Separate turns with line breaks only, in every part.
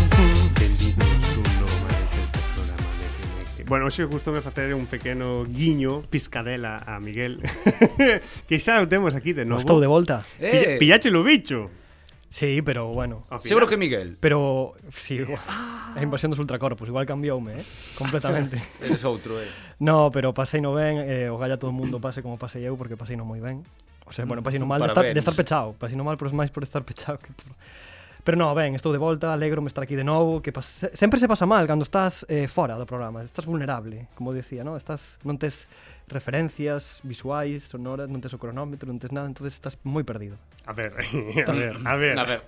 Benvidos un novo máis a este programa de Remake. Bueno, hoxe gusto me facer un pequeno guiño, piscadela a Miguel Que xa o temos aquí de novo
No estou de volta.
Pilla,
Eh,
Pillache o bicho
Sí, pero bueno.
Ao final.
seguro que Miguel.
Pero sí, igual. a invasión dos ultracorpos, igual cambioume, eh? completamente.
Eres outro, eh.
no, pero pasei no ben, eh, o galla todo o mundo pase como pasei eu, porque pasei no moi ben. O sea, bueno, pasei no mal de estar,
Parabéns.
de estar pechado, pasei no mal por máis por estar pechado que por... Pero no, ben, estou de volta, alegro me estar aquí de novo, que pas... sempre se pasa mal cando estás eh, fora do programa, estás vulnerable, como dicía, no? Estás non tes referencias visuais, sonoras, non tes o cronómetro, non tes nada, entonces estás moi perdido.
A ver, a ver, a ver,
A ver.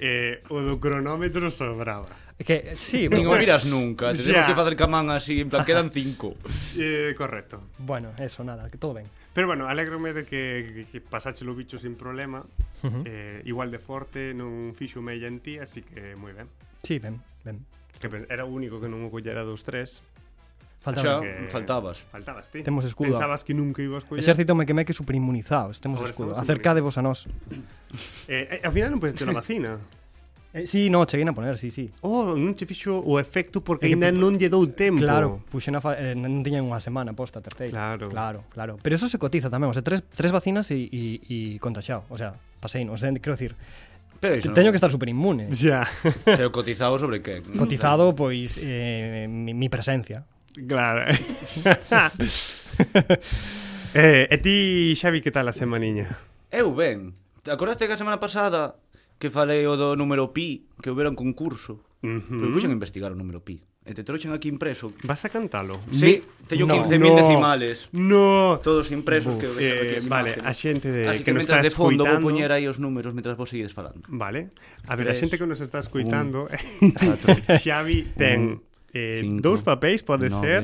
Eh, O do cronómetro sobraba
É Que eh, sí,
Nin o
bueno,
miras nunca, te
Ya.
tengo que facer camán así, en plan, quedan cinco.
eh, Correcto
bueno, eso nada, que todo ben.
Pero bueno, alégrome de que, que, que pasache o bicho sin problema
Ujú.
eh, Igual de forte, non fixo mella en ti, así que moi ben
Sí, ben, ben.
Que pens- era o único que non o collera dos tres
Falta
Xa,
ben.
que-
faltabas.
Faltabas ti
Temos escudo.
Pensabas que nunca ibas coller
Exército mequemeque superinmunizados, temos
Ahora
escudo.
estamos
Acercadevos a nós.
eh, eh, Ao final non puxete na vacina
Eh, sí, no, cheguei a poner, sí, sí.
Oh, non che fixo o efecto porque
É que
ainda
pu-
non lle dou tempo.
Claro, puxen a fa... eh, non tiñan unha semana posta, terceira.
Claro.
Claro, claro. Pero eso se cotiza tamén, o sea, tres, tres vacinas e, e, e contaxado. O sea, pasei, non sei, quero dicir,
Pero
te-
iso non-
teño que estar superinmune.
Ya.
Pero cotizado sobre que?
Cotizado, pois, eh, mi, mi presencia.
Claro. eh, e ti, Xavi, que tal a semaniña?
Eu ben. Te acordaste que a semana pasada que falei o do número pi, que houbera un concurso?
Ujú.
Pero puxen a investigar o número pi. E te troxen aquí impreso.
Vas a cantalo?
Sí, teño
no,
15.000 decimales.
No.
Todos impresos que
Buf,
vexo aquí
eh,
as
vale,
imaxes.
a xente de-
Así
que
que,
nos está
mentras de fondo vou
escoitando-
poñer aí os números mentras vos seguides falando.
Vale. A ver, a
Tres,
xente que nos está escuitando,
catro,
Xavi ten eh,
cinco,
dous papéis, pode
nove,
ser,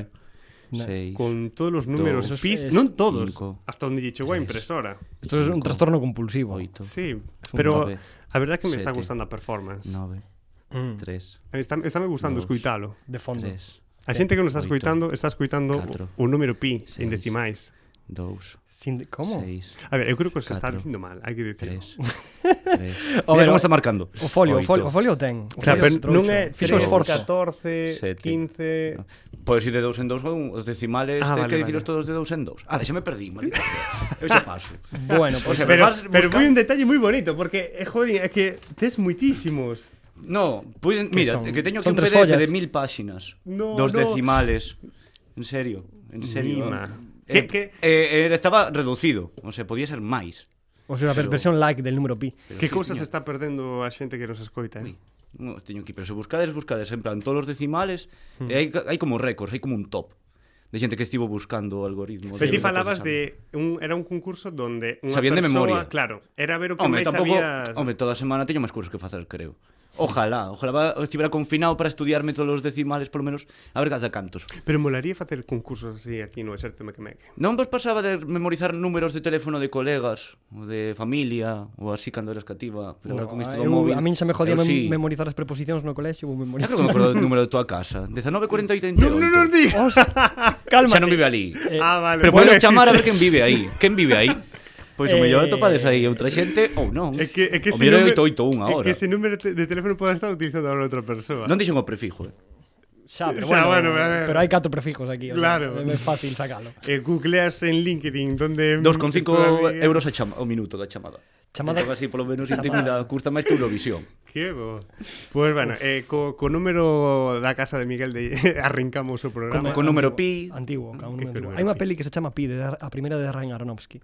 seis.
con todos os números
dos,
pis,
tres,
non todos,
cinco,
hasta onde lle chegou a impresora.
Isto é un
Cinco,
trastorno compulsivo.
Oito,
Sí, pero
nove,
a verdade é que me está
sete,
gustando a performance.
nove,
Mm,
tres,
Está, está me gustando
Dos.
escuitalo.
de fondo.
tres,
A xente que nos está
Oito,
escuitando está escuitando
catro,
o, o número pi seis, en
seis,
decimais.
dous,
Sin, como?
seis,
A ver, eu creo que se está
catro,
dicindo mal, hai que dicir.
tres, tres. Mira
ver,
como
o-
está marcando.
O folio, o
Oito,
folio, o folio ten. O
O sea, pero
folio se
non
trouxo.
é
Fixo
Tres,
esforzo.
14,
sete.
15...
Podes ir de dous en dous con os decimales,
Ah,
ah, tens
vale,
que dicilos
vale.
todos de dous en dous. Ah, xa me perdí, maldita. sea. Eu xa paso.
Bueno, pois
O sea,
Pero,
vas
pero
buscar-
foi un detalle moi bonito, porque, eh, joder, é que tes moitísimos.
No, puiden, mira,
son?
que teño
Son
aquí un
tres
PDF
follas.
de mil páxinas.
No,
dos
no.
decimales. En serio, en serio.
Mima. Que-
Eh,
que-
eh, eh, estaba reducido, o sea, podía ser máis.
O sea, a ver,
Pero-
versión like del número pi.
Pero
Que
sí,
cousas
señor.
está perdendo a xente que nos escoita, eh?
Ui, non os teño aquí, pero se buscades, buscades en plan todos os decimales,
Hmm.
e hai, hai como récords, hai como un top de xente que estivo buscando o algoritmo.
Pero ti
de-
falabas de
procesando.
un, era un concurso donde unha
Sabían de
persoa,
memoria.
claro, era ver o que máis
Home, tampouco,
sabías.
home, toda semana teño máis cursos que facer, creo. Ojalá, ojalá va- estivera confinado para estudiarme todos os decimales, polo menos, a ver cada cantos.
Pero molaría facer concursos así aquí no Exército Mequemeque.
Non vos pasaba de memorizar números de teléfono de colegas, ou de familia, ou así cando eras cativa, pero agora con isto do
eu- uh,
móvil.
a min xa me jodía
eu
mem
sí.
memorizar as preposicións no colexio, vou
Eu
memorizar.
creo que me acordo do número de tua casa. 1948.
Non, non nos digas.
Os, calma.
Xa non vive ali.
Eh,
ah, vale.
Pero
bueno, é
podemos
que-
chamar a ver quen vive aí. Quen vive aí? Pois o
Eh,
mellor atopades aí outra xente ou non.
É que, é que
Oh, o
ese
mellor é
número-
881
é
agora.
que ese número te- de teléfono pode estar utilizando ahora outra persoa.
Non dixen o prefijo, eh.
Xa, pero
Xa,
bueno,
bueno, a ver.
pero hai catro prefijos aquí, o
Claro.
sea, é fácil sacalo.
Eh, googleas en LinkedIn donde
2,5 euros a chama, o minuto da chamada.
Chamada-
Entón, así, polo menos, intimida, custa máis que Eurovisión.
Que bo. Pois bueno, eh, co, co número da casa de Miguel de arrancamos o programa.
Como- Con número pi.
Antiguo, ca un
Que
número antiguo.
número
Hai unha
pi.
peli que se chama Pi, de, a primeira de Ryan Aronofsky.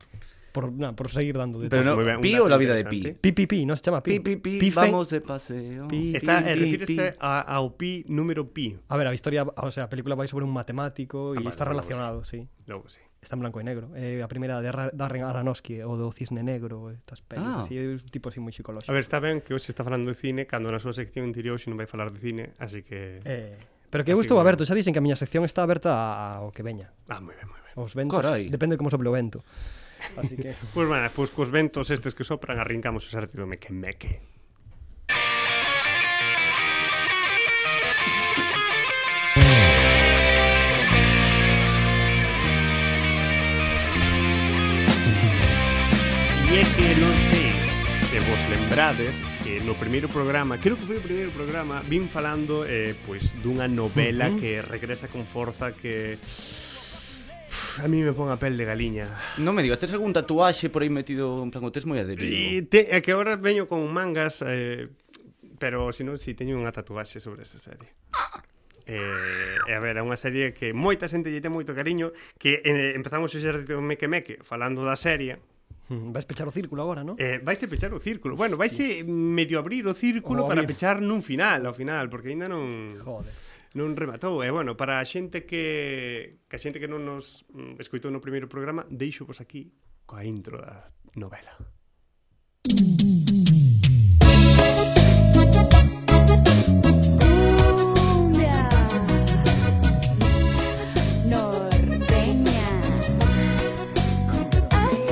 Por, na, por seguir dando de
Pero
Pues
no,
moi ben, un
pi
dato
ou la vida de pi?
interesante.
Pi, pi, pi, non se chama Pi.
Pi, pi, pi,
fe-
vamos de paseo.
Pi,
Está, eh,
pi,
refírese
pi.
a, ao pi número pi.
A ver, a historia, o sea, a película vai sobre un matemático
Ah,
e
vale,
está
vamos.
relacionado, sí.
Logo sí.
Está en blanco e negro. É eh, a primeira de Ra- Darren Aronofsky, o do Cisne Negro, estas pelis,
Ah.
así, é un tipo así moi
A
psicolóxico.
ver, está ben que hoxe está falando de cine, cando na súa sección anterior hoxe non vai falar de cine, así que...
Eh, pero que eu
Así
estou
que-
aberto, xa dixen que a miña sección está aberta a- ao que veña.
Ah, moi ben, moi ben.
Aos ventos,
Carai.
depende de como sople o vento. Así que
Pois, bueno, pois cos ventos estes que sopran arrancamos o xarte do meque-meque. E é que non sei se vos lembrades que no primeiro programa, creo que foi o primeiro programa, vin falando eh, pois dunha novela uh -huh. que regresa con forza que Uf, a mí me pon a pel de galiña.
Non me digas, tes algún tatuaxe por aí metido en plan, o tes moi adherido.
E te, é que agora veño con mangas eh, Pero se non, si teño unha tatuaxe sobre esta serie Eh, e a ver, é unha serie que moita xente lle ten moito cariño Que eh, empezamos o xerrito meque meque falando da serie
mm, vais pechar o círculo agora, ¿no?
eh, Vaise pechar o círculo Bueno, vaise medio abrir o círculo
Ou
para
abrir.
pechar nun final Ao final, porque aínda non...
Joder.
Non rematou, e bueno, para a xente que que a xente que non nos mm, escoitou no primeiro programa, deixo vos aquí coa intro da novela.
Cumbia norteña. Ay,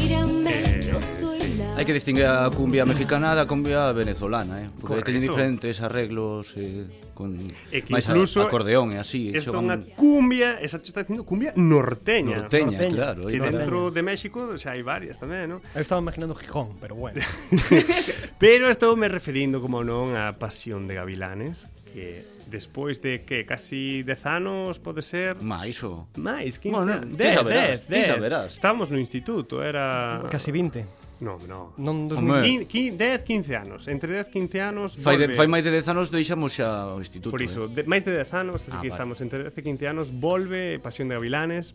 mírame, yo soy la.
Hai que distinguir a cumbia mexicana da cumbia venezolana, eh? Porque
Correcto.
teñen diferentes arreglos eh, con
E que
máis a-
incluso
acordeón e así, e
Esta é
xogan
unha cumbia, esa te está dicindo cumbia norteña.
norteña,
norteña,
claro.
Que
aí
norteña.
está.
dentro de México xa hai varias tamén, non?
Eu estaba imaginando Gijón, pero bueno.
Pero estou me referindo como non a Pasión de Gavilanes, que despois de que casi 10 anos pode ser
Máis o...
máis, 15
Bueno,
anos.
ti saberás, ti saberás.
Estábamos no instituto, era...
Casi 20.
No, no.
Non dos
Quin-
Home.
quin- 10, 15 anos. Entre 10, 15 anos...
Fai, de,
volve.
fai máis de 10 anos deixamos xa o instituto.
Por iso,
eh.
de, máis de 10 anos, así
Ah,
que estamos
vale.
entre 10 e 15 anos, volve Pasión de Gavilanes,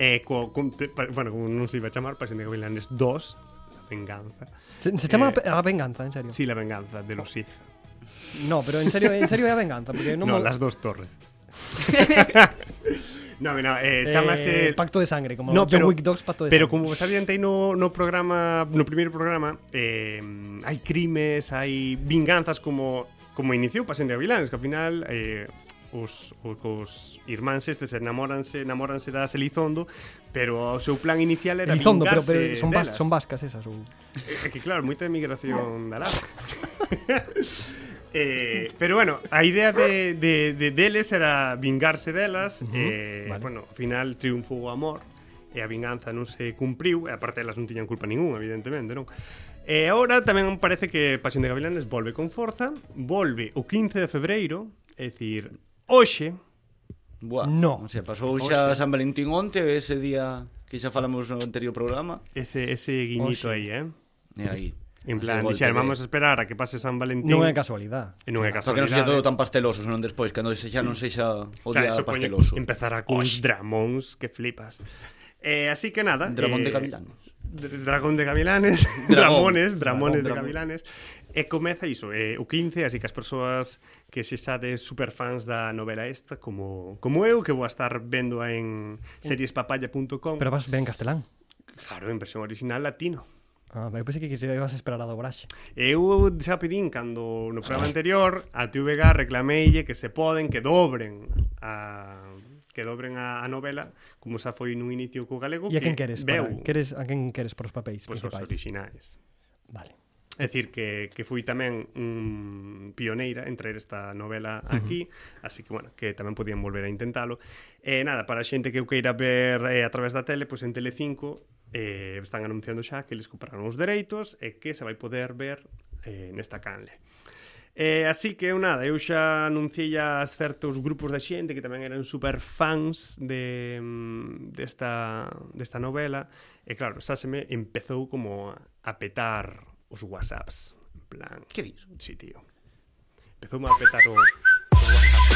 eh, co, con, pe- pa, bueno, como non se iba a chamar, Pasión de Gavilanes 2, La Venganza.
Se, se chama
Eh,
a venganza, en serio.
Sí, La Venganza, de los Sith.
No, pero en serio, en serio é a venganza, porque
No,
non mo-
las dos torres. no, no, eh, chamase...
eh, pacto de sangre, como
No,
John
pero-
Wick 2 pacto de
Pero
sangre.
como vos adiantei no, no programa No primeiro programa eh, Hai crimes, hai vinganzas Como, como iniciou Pasión de Avilans Que ao final eh, os, os, os irmáns estes enamoranse Enamoranse da Elizondo Pero o seu plan inicial era
Elizondo, pero,
vingarse
pero son, vas,
delas.
son vascas esas ou...
É que claro, moita emigración da Lapa. Eh, pero bueno, a idea de, de, de deles era vingarse delas uh -huh, eh,
vale.
vale. Bueno, ao final triunfou o amor E a vinganza non se cumpriu E aparte elas non tiñan culpa ningún, evidentemente non? E agora tamén parece que Pasión de Gavilanes volve con forza Volve o 15 de febreiro É dicir, hoxe
Buah,
No.
O sea, pasou xa San Valentín onte, ese día que xa falamos no anterior programa.
Ese, ese guiñito
Hoxe.
aí, eh?
E aí.
En
ese
plan,
golpe
dixer,
de-
vamos a esperar a que pase San Valentín
Non é casualidade.
E non é
Só que non sexa
casualidade
todo tan pasteloso, senón despois, cando se xa non sexa o día
eso poñe-
pasteloso.
Empezará con dramóns que flipas. Eh, así que nada.
Dramón
eh,
de Gavilanes.
d- Dragón de Gavilanes.
Dragón.
Dramones, dramones
Dragón,
de
dramón.
Gavilanes. E comeza iso, eh, o 15, así que as persoas que se sade superfans da novela esta, como, como eu, que vou a estar vendo en seriespapalla.com,
Pero vas ben castelán.
claro, en versión original latino.
Ah, eu pensei que quise, ibas a esperar a dobraxe.
Eu xa pedín cando no programa anterior a TVG reclameille que se poden que dobren a que dobren a, a novela como xa foi nun inicio co galego
E a quen queres?
veu
Para, queres a quen queres para os papéis
pois, os
principais?
orixinais.
Vale.
É dicir, que, que fui tamén un pioneira en traer esta novela aquí, así que, bueno, que tamén podían volver a intentalo. E nada, para a xente que o queira ver eh, a través da tele, pois en Telecinco eh, están anunciando xa que les compraron os dereitos e que se vai poder ver eh, nesta canle. Eh, así que eu nada, eu xa anunciei a certos grupos de xente que tamén eran super fans de mm, desta desta novela e claro, xa se me empezou como a petar os WhatsApps, en plan,
Que dis?
Sí, tío. Empezou a petar o, o WhatsApp sin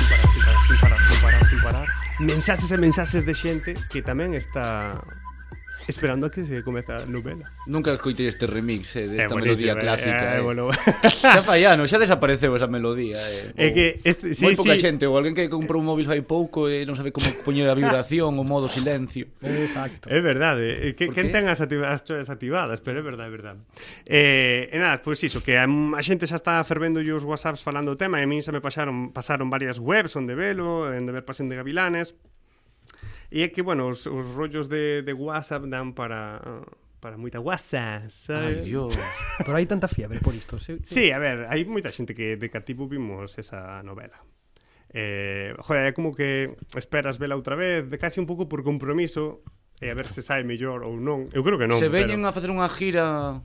parar, sin parar, sin parar, sin parar, sin parar. Mensaxes e mensaxes de xente que tamén está esperando a que se comeza a novela.
Nunca escoitei este remix eh,
É
desta
buenísimo,
melodía
eh,
clásica.
é,
Eh, eh.
bueno.
Xa fai anos, xa desapareceu esa melodía. Eh.
É
Ou-
que este- sí,
moi
sí.
pouca xente, ou alguén que comprou un móvil fai pouco e non sabe como poñer a vibración, o modo silencio.
Exacto.
É verdade, é eh, que
Por
quen
qué?
ten as, activa- as choias activadas, pero é verdade, é verdade. Eh, e nada, pois iso, que a, a xente xa está fervendo os whatsapps falando o tema, e a mí xa me pasaron, pasaron varias webs onde velo, onde ver pasión de gavilanes, E é que, bueno, os, os rollos de, de WhatsApp dan para para moita guasa,
Ai,
sabes?
Dios.
Pero hai tanta fiebre por isto. Sí,
Sí, a ver, hai moita xente que de cativo vimos esa novela. Eh, joder, é como que esperas vela outra vez, de casi un pouco por compromiso, e a ver se sai mellor ou non. Eu creo que non,
se veñen
pero...
a facer unha gira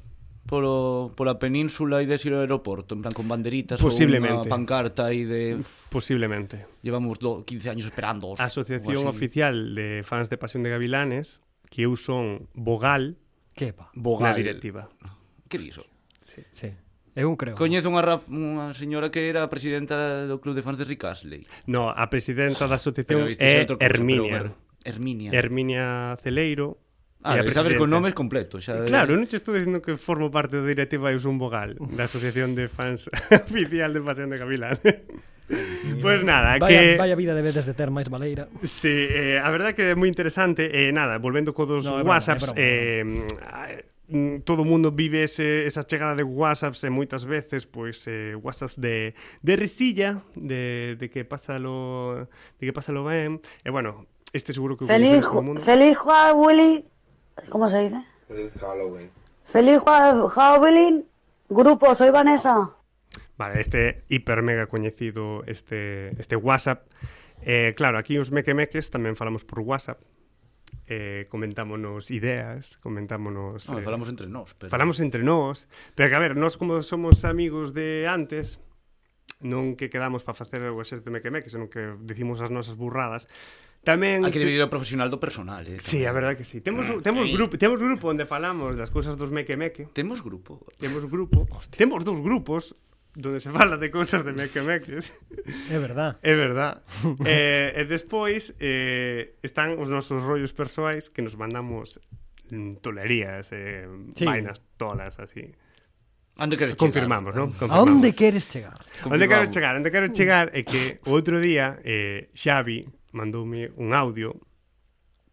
polo, pola península e desir ao aeroporto, en plan con banderitas
Posiblemente.
ou unha pancarta aí de
Posiblemente.
llevamos do, 15 años esperando.
A Asociación Oficial de Fans de Pasión de Gavilanes, que eu son vogal
Que pa.
Bogal. na
Bogal.
directiva.
Que dixo?
Sí. Eu creo.
Coñezo unha, rap, unha señora que era presidenta do club de fans de Rick Astley.
No, a presidenta da asociación
Pero isto
é
xa outra cousa,
Herminia.
pero, ver, Herminia.
Herminia Celeiro.
Ah,
é a
e sabes con
presidenta.
nomes completos. Xa,
Eh, Claro, non che estou dicindo que formo parte da directiva e eu son vogal da Asociación de Fans Oficial de Pasión de Gavilanes. Pois pues nada,
Vaya,
que...
vaya vida debedes de ter máis maleira.
Sí, eh, a verdade que é moi interesante e eh, nada, volvendo co dos
No,
no,
é broma,
WhatsApps
é
eh, mm, todo o mundo vive ese, esa chegada de WhatsApps e moitas veces pois eh, WhatsApps de, de risilla de, de que pásalo de que pásalo ben e bueno, este seguro que o
Feliz,
conoces todo o mundo.
feliz Halloween. ¿Cómo se dice?
Feliz Halloween.
Feliz Jua- Halloween. Grupo, soy Vanessa.
Vale, este hiper mega coñecido este, este WhatsApp. Eh, claro, aquí os mequemeques tamén falamos por WhatsApp. Eh, comentámonos ideas, comentámonos...
No,
eh,
falamos entre nós, pero
falamos entre nós. Pero que, a ver, nós como somos amigos de antes, non que quedamos para facer o exército mequemeque, senón que decimos as nosas burradas. Tamén...
hai que dividir o Ah, profesional do personal, eh.
Sí, a verdade que sí. Temos, temos, grupo, temos grupo onde falamos das cousas dos mequemeque.
Temos grupo.
Temos grupo. Temos dous grupos donde se fala de cousas de mequemeques.
É verdad.
É verdad. eh, e despois eh, están os nosos rollos persoais que nos mandamos mm, tolerías, eh, sí.
Sí.
vainas tolas, así.
Ande queres
Confirmamos, non?
A
Confirmamos.
onde queres chegar?
Onde quero chegar? Onde quero chegar é que o outro día eh, Xavi mandoume un audio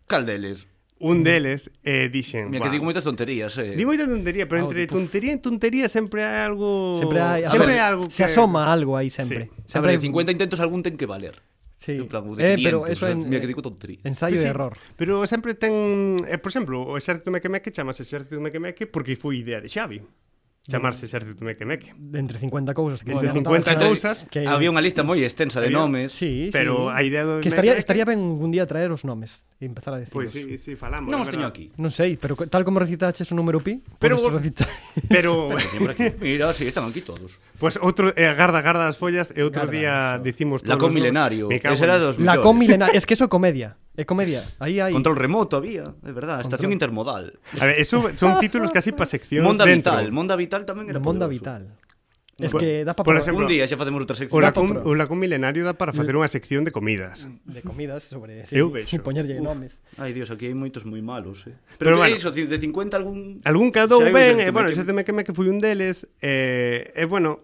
Caldeles.
Un deles eh, dixen
Mira que digo moitas tonterías, eh.
Di moita tontería, pero
Audio,
entre
puf.
tontería e tontería sempre hai algo
Sempre hai,
sempre hai
ver,
algo que
Se asoma algo aí sempre.
Sí.
A
Sempre
ver,
hai
de 50 intentos algún ten que valer.
Sí.
En plan, o de
Eh,
500,
pero eso
eh,
en,
mira que digo tontería.
Ensayo
Pois sí,
e error.
Pero sempre ten, eh, por exemplo, o exército mequemeque chamase exército mequemeque porque foi idea de Xavi
Mm.
chamarse exército mequemeque.
De entre 50 cousas que
Entre
te
50
anotabas,
cousas,
que-
Había unha lista moi extensa de
Había-
nomes.
Sí,
Pero
sí.
a idea do
que estaría
Mequemeque-
estaría ben un día traer os nomes e empezar a decir.
Pois si, si falamos.
Non
é
os teño
verdad.
aquí.
Non sei, pero co- tal como recitaches o número pi,
Pero-
podes recitar.
Pero
Teño por aquí. Mira, sí, están aquí todos.
Pois outro eh, agarda, agarda as follas e outro
Agarda,
día
eso.
dicimos todos. os
Lacón milenario.
nomes. Me cago
Ese era
en-
dos
La
millores.
com milenaria, es que eso é comedia, é comedia. Aí hai
Control remoto había, é verdad, estación
Control-
intermodal.
A ver, eso son títulos casi para seccións
Monda
dentro.
Vital, Monda Vital tamén era
Monda Vital.
poderoso.
Es
Bueno,
que dá para
por
Un día xa facemos outra sección.
O
Ora- Dá pa
lacón,
probar.
o lacón milenario dá para facer
Mm.
unha sección de comidas.
de comidas sobre
Eu vexo.
e poñerlle nomes.
Ai, Dios, aquí hai moitos moi malos, eh.
Pero
Pero,
bueno.
bueno, iso, de 50 algún...
Algún quedou
Xa hai un
ben,
xente
e bueno,
que-
xa teme que me que fui un deles, e eh, eh, bueno,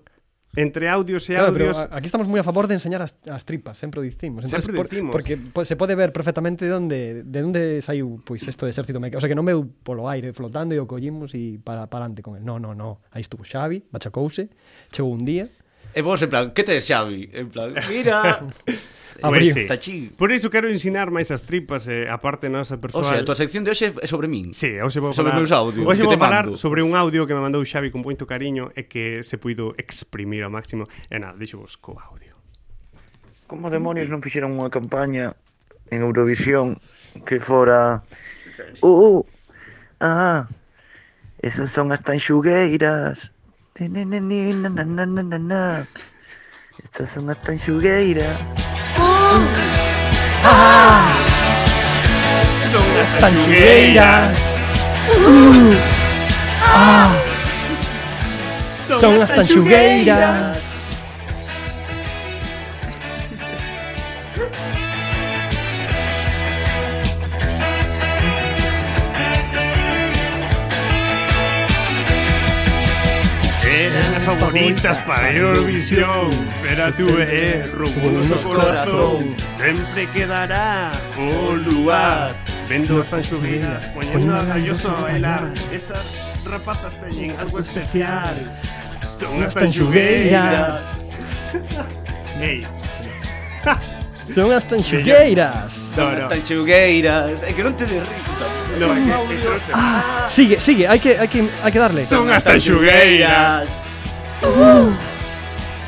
entre audios e
Claro, pero
audios...
a- aquí estamos moi a favor de enseñar as, as tripas, sempre o dicimos. Entonces,
Sempre o dicimos.
Porque po- se pode ver perfectamente de onde de onde saiu pois isto de exército meca. O sea, que non veu polo aire flotando e o collimos e para para adelante con el. No, no, no. Aí estuvo Xavi, machacouse, chegou un día.
E vos, en plan, que te Xavi? En plan, mira...
Abriu.
sí.
Tachín.
Por iso quero ensinar máis as tripas, eh, a parte nosa
O
persoal.
sea, a tua sección de hoxe é sobre min.
Sí, hoxe vou
Sobre
falar...
meus audios,
hoxe
que
vou
te
falar
mando.
sobre un audio que me mandou Xavi con moito cariño e que se puido exprimir ao máximo. E nada, deixo vos co audio.
Como demonios non fixeron unha campaña en Eurovisión que fora Uh, uh, ah, esas son as tanxugueiras Ni, ni, ni, ni, na, na, na, na, na, na. Estas son as tanxugueiras
Son as
tanxugueiras. Son as tanxugueiras.
Eran as favoritas para Eurovisión Pero tu e roubou o noso corazón Sempre quedará o lugar Vendo as tan subidas, poñendo a galloso a bailar Esas rapazas teñen algo especial Son as tan Ei,
Son as tanxugueiras.
No,
Son
no.
as tanchugueiras. É que non te derrito.
No, é que- é que non sei.
Sigue, sigue, hai que, hai que, hai que darle.
Son as tanchugueiras.
Son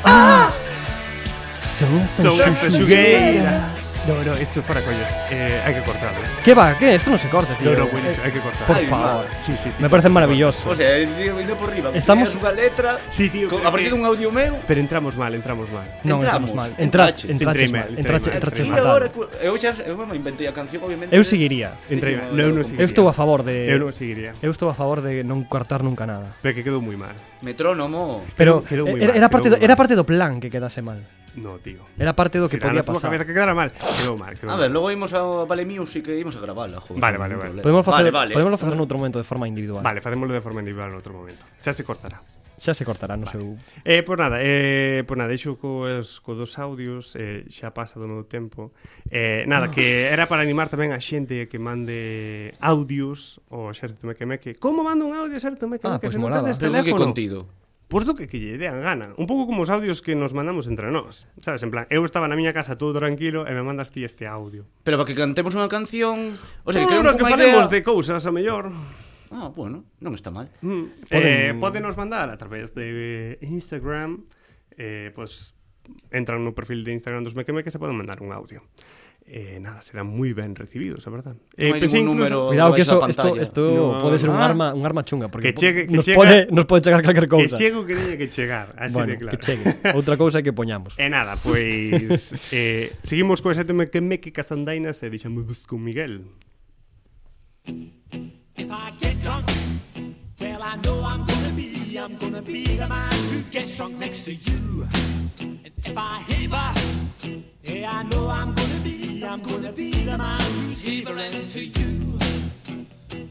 as
Son as
tanchugueiras.
tanchugueiras. No, no, isto é para collas. Eh, hai que cortarlo. eh.
Que va, que? Esto non se corta, tío.
No, no, buenísimo, hai que cortarlo.
Por
Ay,
favor.
madre.
Sí, sí, sí.
Me parece maravilloso.
O sea, indo por riba.
Estamos-
Unha letra.
Sí, tío,
Con,
pero
a
que-
partir dun audio meu.
Pero entramos mal, entramos mal.
Non, entramos
entramos.
mal. Entrache,
Entrache.
entrache
Entrei
mal.
mal,
Entrache,
entrei mal.
entrache
Aquí
fatal.
agora, cu- eu xa eu me inventei a canción, obviamente.
Eu seguiría.
Entrei
Digo,
mal. No, Eh, eu non
eu
seguiría.
Eu estou a favor de
Eu non seguiría.
Eu estou a favor de non cortar nunca nada.
Pero que quedou moi mal.
Metrónomo.
Pero
Quedou- quedou moi
era,
mal,
era parte
quedou
do,
moi
era
mal.
parte do plan que quedase mal.
No, tío.
Era parte do que
Será
podía
na túa
pasar.
cabeza que quedara mal. Quedou mal,
Ah,
quedou
A ver, logo imos ao Vale Music e imos a gravala, joder.
Vale,
non
vale,
hai
vale.
problema.
Podemos facer,
vale, vale.
podemos facer noutro momento de forma individual.
Vale, facémoslo de forma individual en outro momento. Xa se cortará.
Xa se cortará no seu
Eh, por nada, eh, por nada, deixo cos, cos dos audios, eh, xa pasa do meu tempo. Eh, nada, que era para animar tamén a xente que mande audios ao Xerto Mequemeque. Como manda un audio ao Xerto
Ah,
Mequemeque
pois
se non
molaba.
tedes
Pero que
teléfono?
contido.
Pois do que que lle dean gana. Un pouco como os audios que nos mandamos entre nós. Sabes, en plan, eu estaba na miña casa todo tranquilo e me mandas ti este audio.
Pero para que cantemos unha canción, o
Pues
sea, que
Claro
quedemos
que
cunha
falemos
idea-
de cousas, a mellor.
Ah, bueno, non está mal.
Mm. Eh,
Poden-
podenos mandar a través de Instagram, eh, pues entran no perfil de Instagram dos Mequemeque se poden mandar un audio. Eh, nada, serán moi ben recibidos, a verdad. Eh, pues
Non hai ningún número
Cuidado que
vais á
eso esto,
pantalla.
esto
No,
pode ser un
ah.
arma un arma chunga
Que
porque
chegue- que
nos
chega-
pode nos pode chegar calquer
que
cousa.
chego que teña que chegar, así
bueno,
de claro.
que chegue. Outra cousa é que poñamos.
E nada, pois eh, seguimos co xeto Mequemeque Casandainas e deixamos con Miguel.
If I get drunk, well, I know I'm gonna be, I'm gonna be the man who gets drunk next to you. And if I heaver, yeah, I know I'm gonna be, I'm gonna be the man who's heavering to you.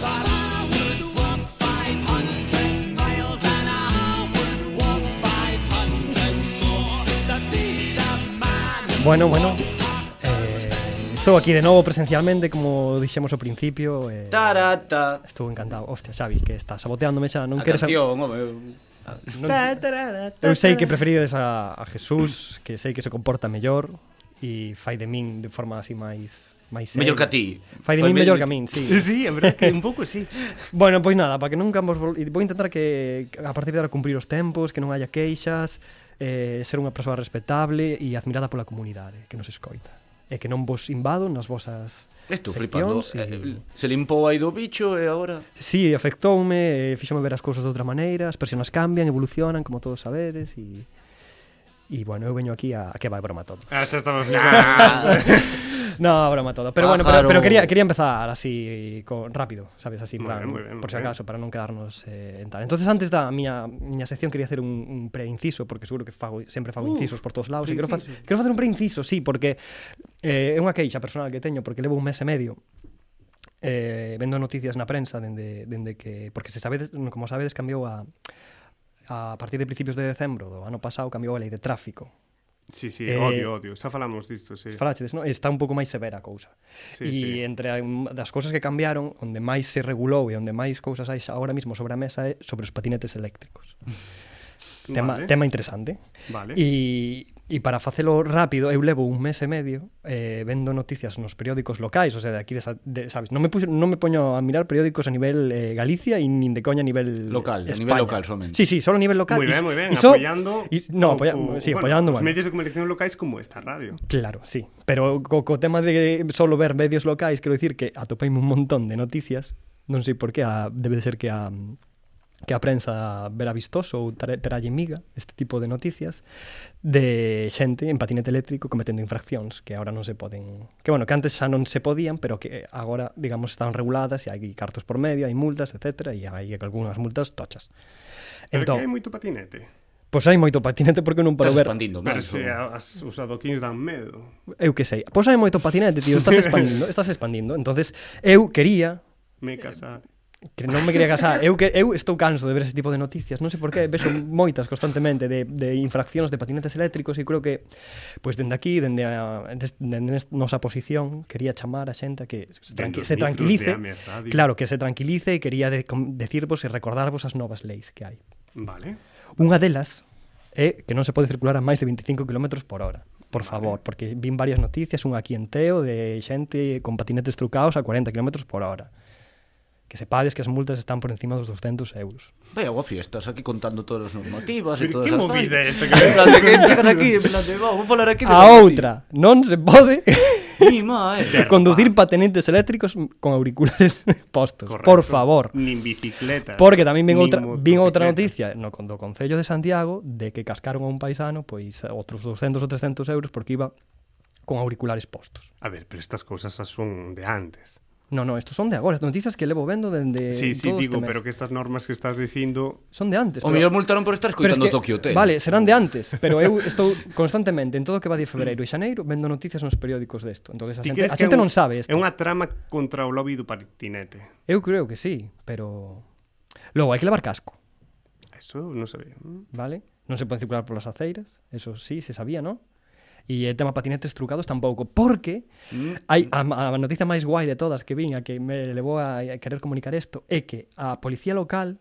But I would walk 500 miles and I would walk 500 more to be the man
Bueno, bueno. Eh, estou aquí de novo presencialmente como dixemos ao principio. Eh,
Tarata.
Estou encantado. Hostia, Xavi, que está saboteándome xa, non
A
queres... a-
canción, home.
non- Eu sei que preferides a, a Jesús, que sei que se comporta mellor e fai de min de forma así máis máis
Mellor
seria.
que a ti.
Fai de
Fai
min mellor
mellor
que
que-
a min, sí.
Sí, a verdade que un pouco sí.
Bueno, pois nada, para que nunca vos vol... e vou intentar que que a partir de agora cumprir os tempos, que non haya queixas, eh, ser unha persoa respetable e admirada pola comunidade que nos escoita. E que non vos invado nas vosas
Estou
seccións
flipando. Eh,
e-
Se limpou aí do bicho e agora...
Sí, afectoume, eh, fíxome ver as cousas de outra maneira, as persoas cambian, evolucionan, como todos sabedes, e... E, bueno, eu veño aquí a, a que vai broma todo.
Ah, xa estamos nah.
Ah,
No, broma todo. Pero bueno,
Pájaro.
pero, pero quería, quería empezar así, co- rápido, ¿sabes? Así, en
Muy
plan,
bien, muy bien,
por si
muy bien.
acaso, para non quedarnos eh, en tal. Entonces, antes da miña, miña sección quería hacer un, un preinciso, porque seguro que fago, sempre fago incisos por todos lados. E quero, fa quero facer un preinciso, sí, porque eh, é unha queixa personal que teño, porque levo un mes e medio eh, vendo noticias na prensa dende, dende que... Porque se sabedes, como sabedes, cambiou a... A partir de principios de decembro do ano pasado cambiou a lei de tráfico
Sí, sí,
Eh,
odio, odio. Xa falamos disto, sí.
falaxedes, non? Está un pouco máis severa a cousa.
Sí,
e
sí.
entre a- das cousas que cambiaron, onde máis se regulou e onde máis cousas hai xa agora mismo sobre a mesa é sobre os patinetes eléctricos. tema,
Vale.
tema interesante.
Vale.
E E para facelo rápido, eu levo un mes e medio eh, vendo noticias nos periódicos locais, o sea, de aquí, de, sa- de, sabes, non me, puxo, non me poño a mirar periódicos a nivel eh, Galicia e nin de coña a nivel
Local, a
España.
nivel local somente.
Sí, sí, solo a nivel local.
Moi
E
ben,
s-
moi ben,
e so-
apoiando
e s- no,
o-
apoia,
o-
sí,
bueno,
apoiando,
os
bueno.
medios de comunicación locais como esta radio.
Claro, sí. Pero co, co tema de solo ver medios locais, quero dicir que atopeime un montón de noticias. Non sei por que, a, debe de ser que a que a prensa verá vistoso ou tra- tralle miga este tipo de noticias de xente en patinete eléctrico cometendo infraccións que agora non se poden que bueno, que antes xa non se podían pero que agora, digamos, están reguladas e hai cartos por medio, hai multas, etc e hai algunhas multas tochas
Pero que hai
entón,
moito patinete.
pois hai moito patinete porque eu non paro
Estás
ver
expandindo,
Pero
máis,
se
joder.
a- as, os adoquins dan medo.
eu que sei. Pois hai moito patinete, tío, estás expandindo, estás expandindo. Entonces, eu quería
Me casar.
que non me quería casar. Eu que eu estou canso de ver ese tipo de noticias, non sei por qué, vexo moitas constantemente de, de infraccións de patinetes eléctricos e creo que pois dende aquí, dende a, des- dende nes- nosa posición, quería chamar a xente a que se,
os
tranqui se
micros
tranquilice.
de Ame Radio.
Claro, que se tranquilice e quería de, com- decirvos e recordarvos as novas leis que hai.
Vale.
Unha delas é que non se pode circular a máis de 25 km por hora. por favor, porque vin varias noticias, un aquí en Teo de xente con patinetes trucados a 40 km por hora. Que sepades que as multas están por encima dos 200 euros.
Vai a fiestas aquí contando todas as normativas e
Pero
todas
que
as
movida é
vainas.
esta que-
En plan de que chegan aquí, en plan de, "Vamos falar aquí de
A
normativa".
outra, non se pode
Ni má, eh.
conducir patinetes eléctricos con auriculares postos,
Correcto.
por favor.
Nin bicicleta.
Porque tamén ven
nin
outra vin outra
motocicleta.
noticia no con- do Concello de Santiago de que cascaron a un paisano pois outros 200 ou 300 euros porque iba con auriculares postos.
A ver, pero estas cousas as son de antes.
No, no, estos son de agora, noticias que levo vendo dende
sí, sí,
todo este
digo,
mes.
pero que estas normas que estás dicindo...
son de antes.
O
pero-
mellor multaron por estar
pero es
escoitando Tokyo Hotel.
Vale, serán de antes, pero eu estou constantemente en todo o que va de febreiro e xaneiro vendo noticias nos periódicos desto. Entonces a
Ti crees
xente, a
que é
xente
un-
non sabe isto.
É unha trama contra o lobby do patinete.
Eu creo que sí, pero logo hai que levar casco,
Eso non sabía. Mm.
vale? Non se pode circular polas aceiras, eso sí, se sabía, non? E o tema patinetes trucados tampouco, porque
Mm.
hai a, a noticia máis guai de todas que vin a que me levou a, a querer comunicar isto é que a policía local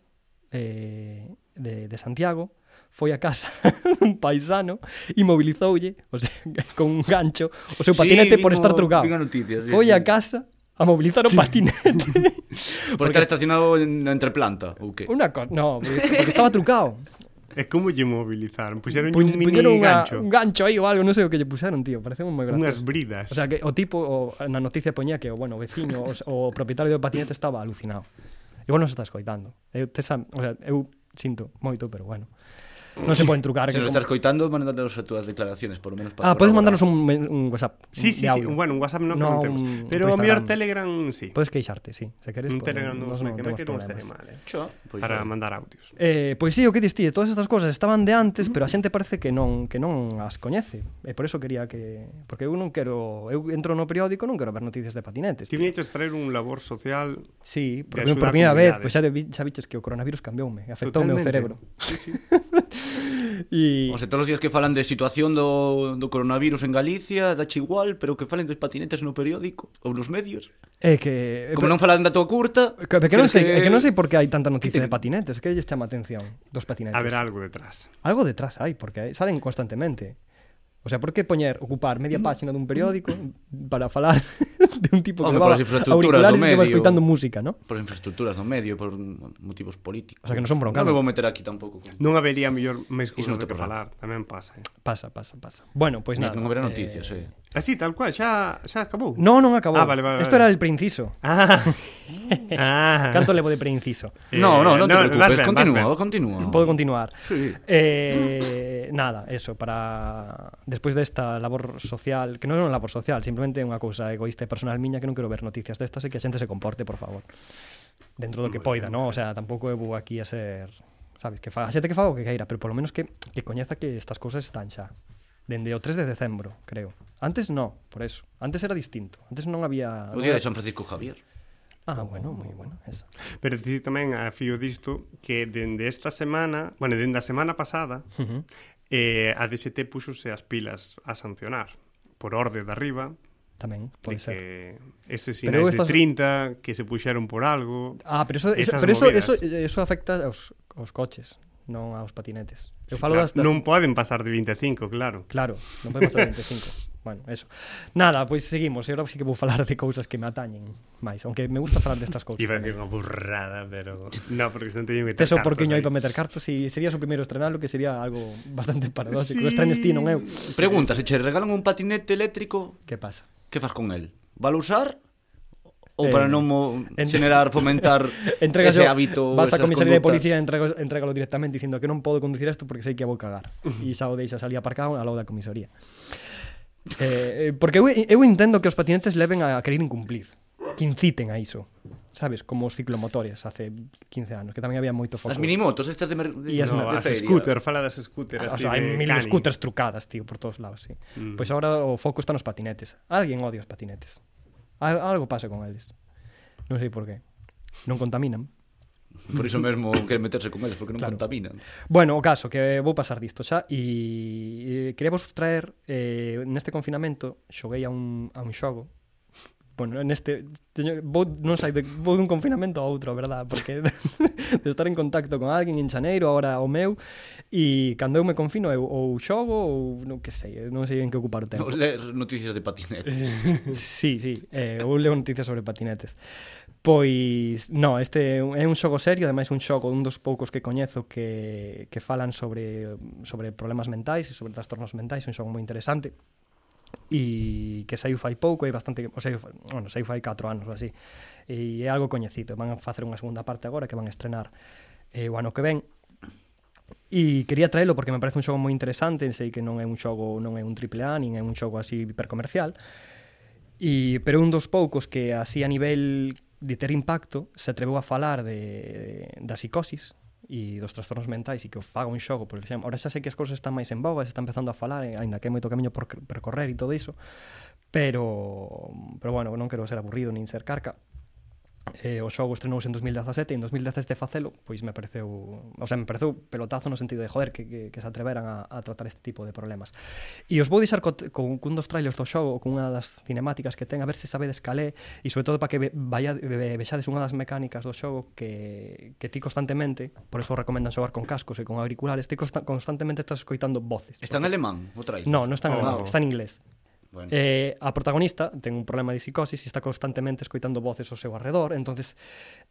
eh, de, de Santiago foi a casa dun paisano e mobilizoulle, o sea, con un gancho, o seu
Sí,
patinete por
vimos-
estar trucado.
vimos noticias, sí,
foi
sí.
a casa a mobilizar o patinete.
Por estar estacionado en, entre planta, ou que?
Una cosa, no, porque, porque estaba trucado.
E como lle mobilizaron? Puxeron
Pu-
un mini
puñeron unha-
gancho.
un gancho aí ou algo, non sei o que lle puseron, tío, parecemos moi graciosos.
Unhas bridas.
O sea, que o tipo, o, na noticia poñía que o, bueno, o veciño, o, o propietario do patinete estaba alucinado. Igual non se está escoitando. Eu, tesa, o sea, eu sinto moito, pero bueno. Non se poden trucar. que
Se nos
como-
estás coitando, mandándonos as túas declaraciones, por lo menos para
Ah, podes
corroborar.
mandarnos un, men- un WhatsApp.
Sí,
un-
sí, sí.
de audio. mm,
Bueno, un WhatsApp non no, temos.
un-
Pero o
por
mellor Telegram,
Instagram.
sí.
Podes queixarte, sí. Se queres,
Un
podes,
Telegram non
nós
sei que me
temos
quedo un
problemas.
mal, eh.
Cho, pois
Para
vale.
mandar audios.
Eh, pois sí, o que distí, todas estas cousas estaban de antes, pero a xente parece que non que non as coñece. E por eso quería que porque eu non quero, eu entro no periódico, non quero ver noticias de patinetes.
Ti
tío.
viñeches traer un labor social
Sí, por,
axuda
por
á
primeira vez,
comunidade.
pois xa, de, xa viches que o coronavirus cambioume, afectoume o
eh. totalmente.
cerebro.
Sí, sí.
E
O sea, todos os días que falan de situación do, do coronavirus en Galicia, da igual, pero que falen dos patinetes no periódico ou nos medios.
é eh, que
Como non falan da tua curta...
Eh, Que, que non
crees
sei, que... que non sei por que hai tanta
que
noticia de
te-
patinetes, que lles chama a atención dos patinetes.
Haber algo detrás.
Algo detrás hai, porque hai- salen constantemente. O sea, por que poñer, ocupar media páxina dun periódico para falar de un tipo que
Home,
levaba
polas infraestructuras
auriculares e
do
que va
medio.
escoitando música, ¿no?
Por infraestructuras no medio, por motivos
O
políticos.
sea, que non son broncanos.
Non me vou meter aquí tampouco. Con...
Non habería mellor máis cousas
Iso non te
de que falar,
preocupa.
tamén pasa. Eh.
Pasa, pasa, pasa. Bueno, pois
Ni-
nada.
non haberá
eh,
noticias, eh.
Así, tal cual, xa, xa acabou.
No, non acabou.
Ah, vale, vale,
Esto
vale.
era el preinciso.
Ah. ah.
Canto levo de preinciso.
Eh,
no, no, non te
no, vas ben,
preocupes,
vas
continúa,
ben.
continúa.
Podo continuar.
Sí.
Eh, nada, eso, para despois desta labor social, que non é unha labor social, simplemente é unha cousa egoísta e personal miña que non quero ver noticias destas e que a xente se comporte, por favor. Dentro do que poida, non? O sea, tampouco eu vou aquí a ser, sabes, que fa, a xente que fa o que queira, pero polo menos que que coñeza que estas cousas están xa. Dende o 3 de decembro, creo. Antes no, por eso. Antes era distinto. Antes non había
O día de San Francisco Javier.
Ah, bueno, moi bueno, esa.
Pero dicir tamén a fío disto que dende esta semana, bueno, dende a semana pasada,
Ujú.
eh, a DST puxose as pilas a sancionar por orde de arriba,
Tamén
de
pode ser.
que eses
Pero
sinais de
estas-
30 que se puxeron por algo.
Ah, pero eso, eso,
Esas
pero eso,
movidas.
eso, eh, eso afecta aos, aos coches, non aos patinetes. Eu
Sí,
falo
claro,
das, das...
Non poden pasar de 25, claro.
Claro, non podemos pasar 25. bueno, eso. Nada, pois seguimos. E agora sí que vou falar de cousas que me atañen máis, aunque me gusta falar destas cousas.
Iba a decir unha burrada, pero... No, porque senón teño que meter
Teso
cartas
porquiño aí
aí.
para meter cartos e sería o primeiro estrenalo que sería algo bastante paradóxico.
Sí.
Sí. Estrenes ti, non eu.
Pregunta, se che regalan un patinete eléctrico,
Que pasa?
que fas con el? Valo usar? Ou
Eh,
para non mo...
en-
generar, fomentar
Entregas
ese hábito,
vas á
esas
comisaría de
conductas?
policía e entregalo, entregalo directamente dicindo que non podo conducir isto porque sei que a vou cagar. E xa o deixas ali aparcado ao lado da comisaría. Eh, eh, porque eu, eu entendo que os patinetes leven a querer incumplir que inciten a iso sabes, como os ciclomotores hace 15 anos que tamén había moito foco
As minimotos, estas de... Mer...
E as
No,
na-
as
feria.
scooter, fala das scooter
o
así
sea, hai
de
mil
cani.
scooters trucadas, tío, por todos lados, sí. Mm. Pois agora o foco está nos patinetes. Alguén odia os patinetes. Al algo pasa con eles. Non sei por qué. Non contaminan.
Por iso mesmo queren meterse con eles, porque non
Claro.
contaminan.
Bueno, o caso que vou pasar disto xa e, e quería vos traer eh, neste confinamento xoguei a un, a un xogo Bueno, neste teño, vou, non sei, de, vou dun confinamento a outro, a verdad, porque de estar en contacto con alguén en Xaneiro, agora o meu, e cando eu me confino eu ou xogo ou non que sei, non sei en que ocupar o tempo.
Os ler noticias de patinetes.
Eh. Sí, sí, eh, eu leo noticias sobre patinetes. Pois, no, este é un xogo serio, ademais un xogo un dos poucos que coñezo que, que falan sobre sobre problemas mentais e sobre trastornos mentais, un xogo moi interesante e que saiu fai pouco e bastante, o saiu, fai- bueno, saiu fai 4 anos ou así. E é algo coñecido, van a facer unha segunda parte agora que van a estrenar eh, o ano que ven E quería traelo porque me parece un xogo moi interesante, sei que non é un xogo, non é un triple A, nin é un xogo así hipercomercial. E pero é un dos poucos que así a nivel de ter impacto se atreveu a falar de, de da psicosis e dos trastornos mentais e que o faga un xogo, por exemplo. Ahora xa sei que as cousas están máis en boga, se está empezando a falar, e aínda que hai moito camiño por cr- percorrer e todo iso, pero pero bueno, non quero ser aburrido nin ser carca, Eh, o xogo estrenouse en 2017 e en 2017 facelo, pois me pareceu, o sea, me pareceu pelotazo no sentido de joder que, que, que se atreveran a, a tratar este tipo de problemas. E os vou deixar co, con, cun dos trailers do xogo, con unha das cinemáticas que ten, a ver se sabedes calé e sobre todo para que ve, vaya, ve, vexades unha das mecánicas do xogo que, que ti constantemente, por eso recomendan xogar con cascos e con auriculares, ti consta, constantemente estás escoitando voces.
Está en alemán, o trailer.
No, non está en
Ah,
alemán,
vale.
está en inglés.
Bueno.
Eh, a protagonista ten un problema de psicosis e está constantemente escoitando voces ao seu arredor, entonces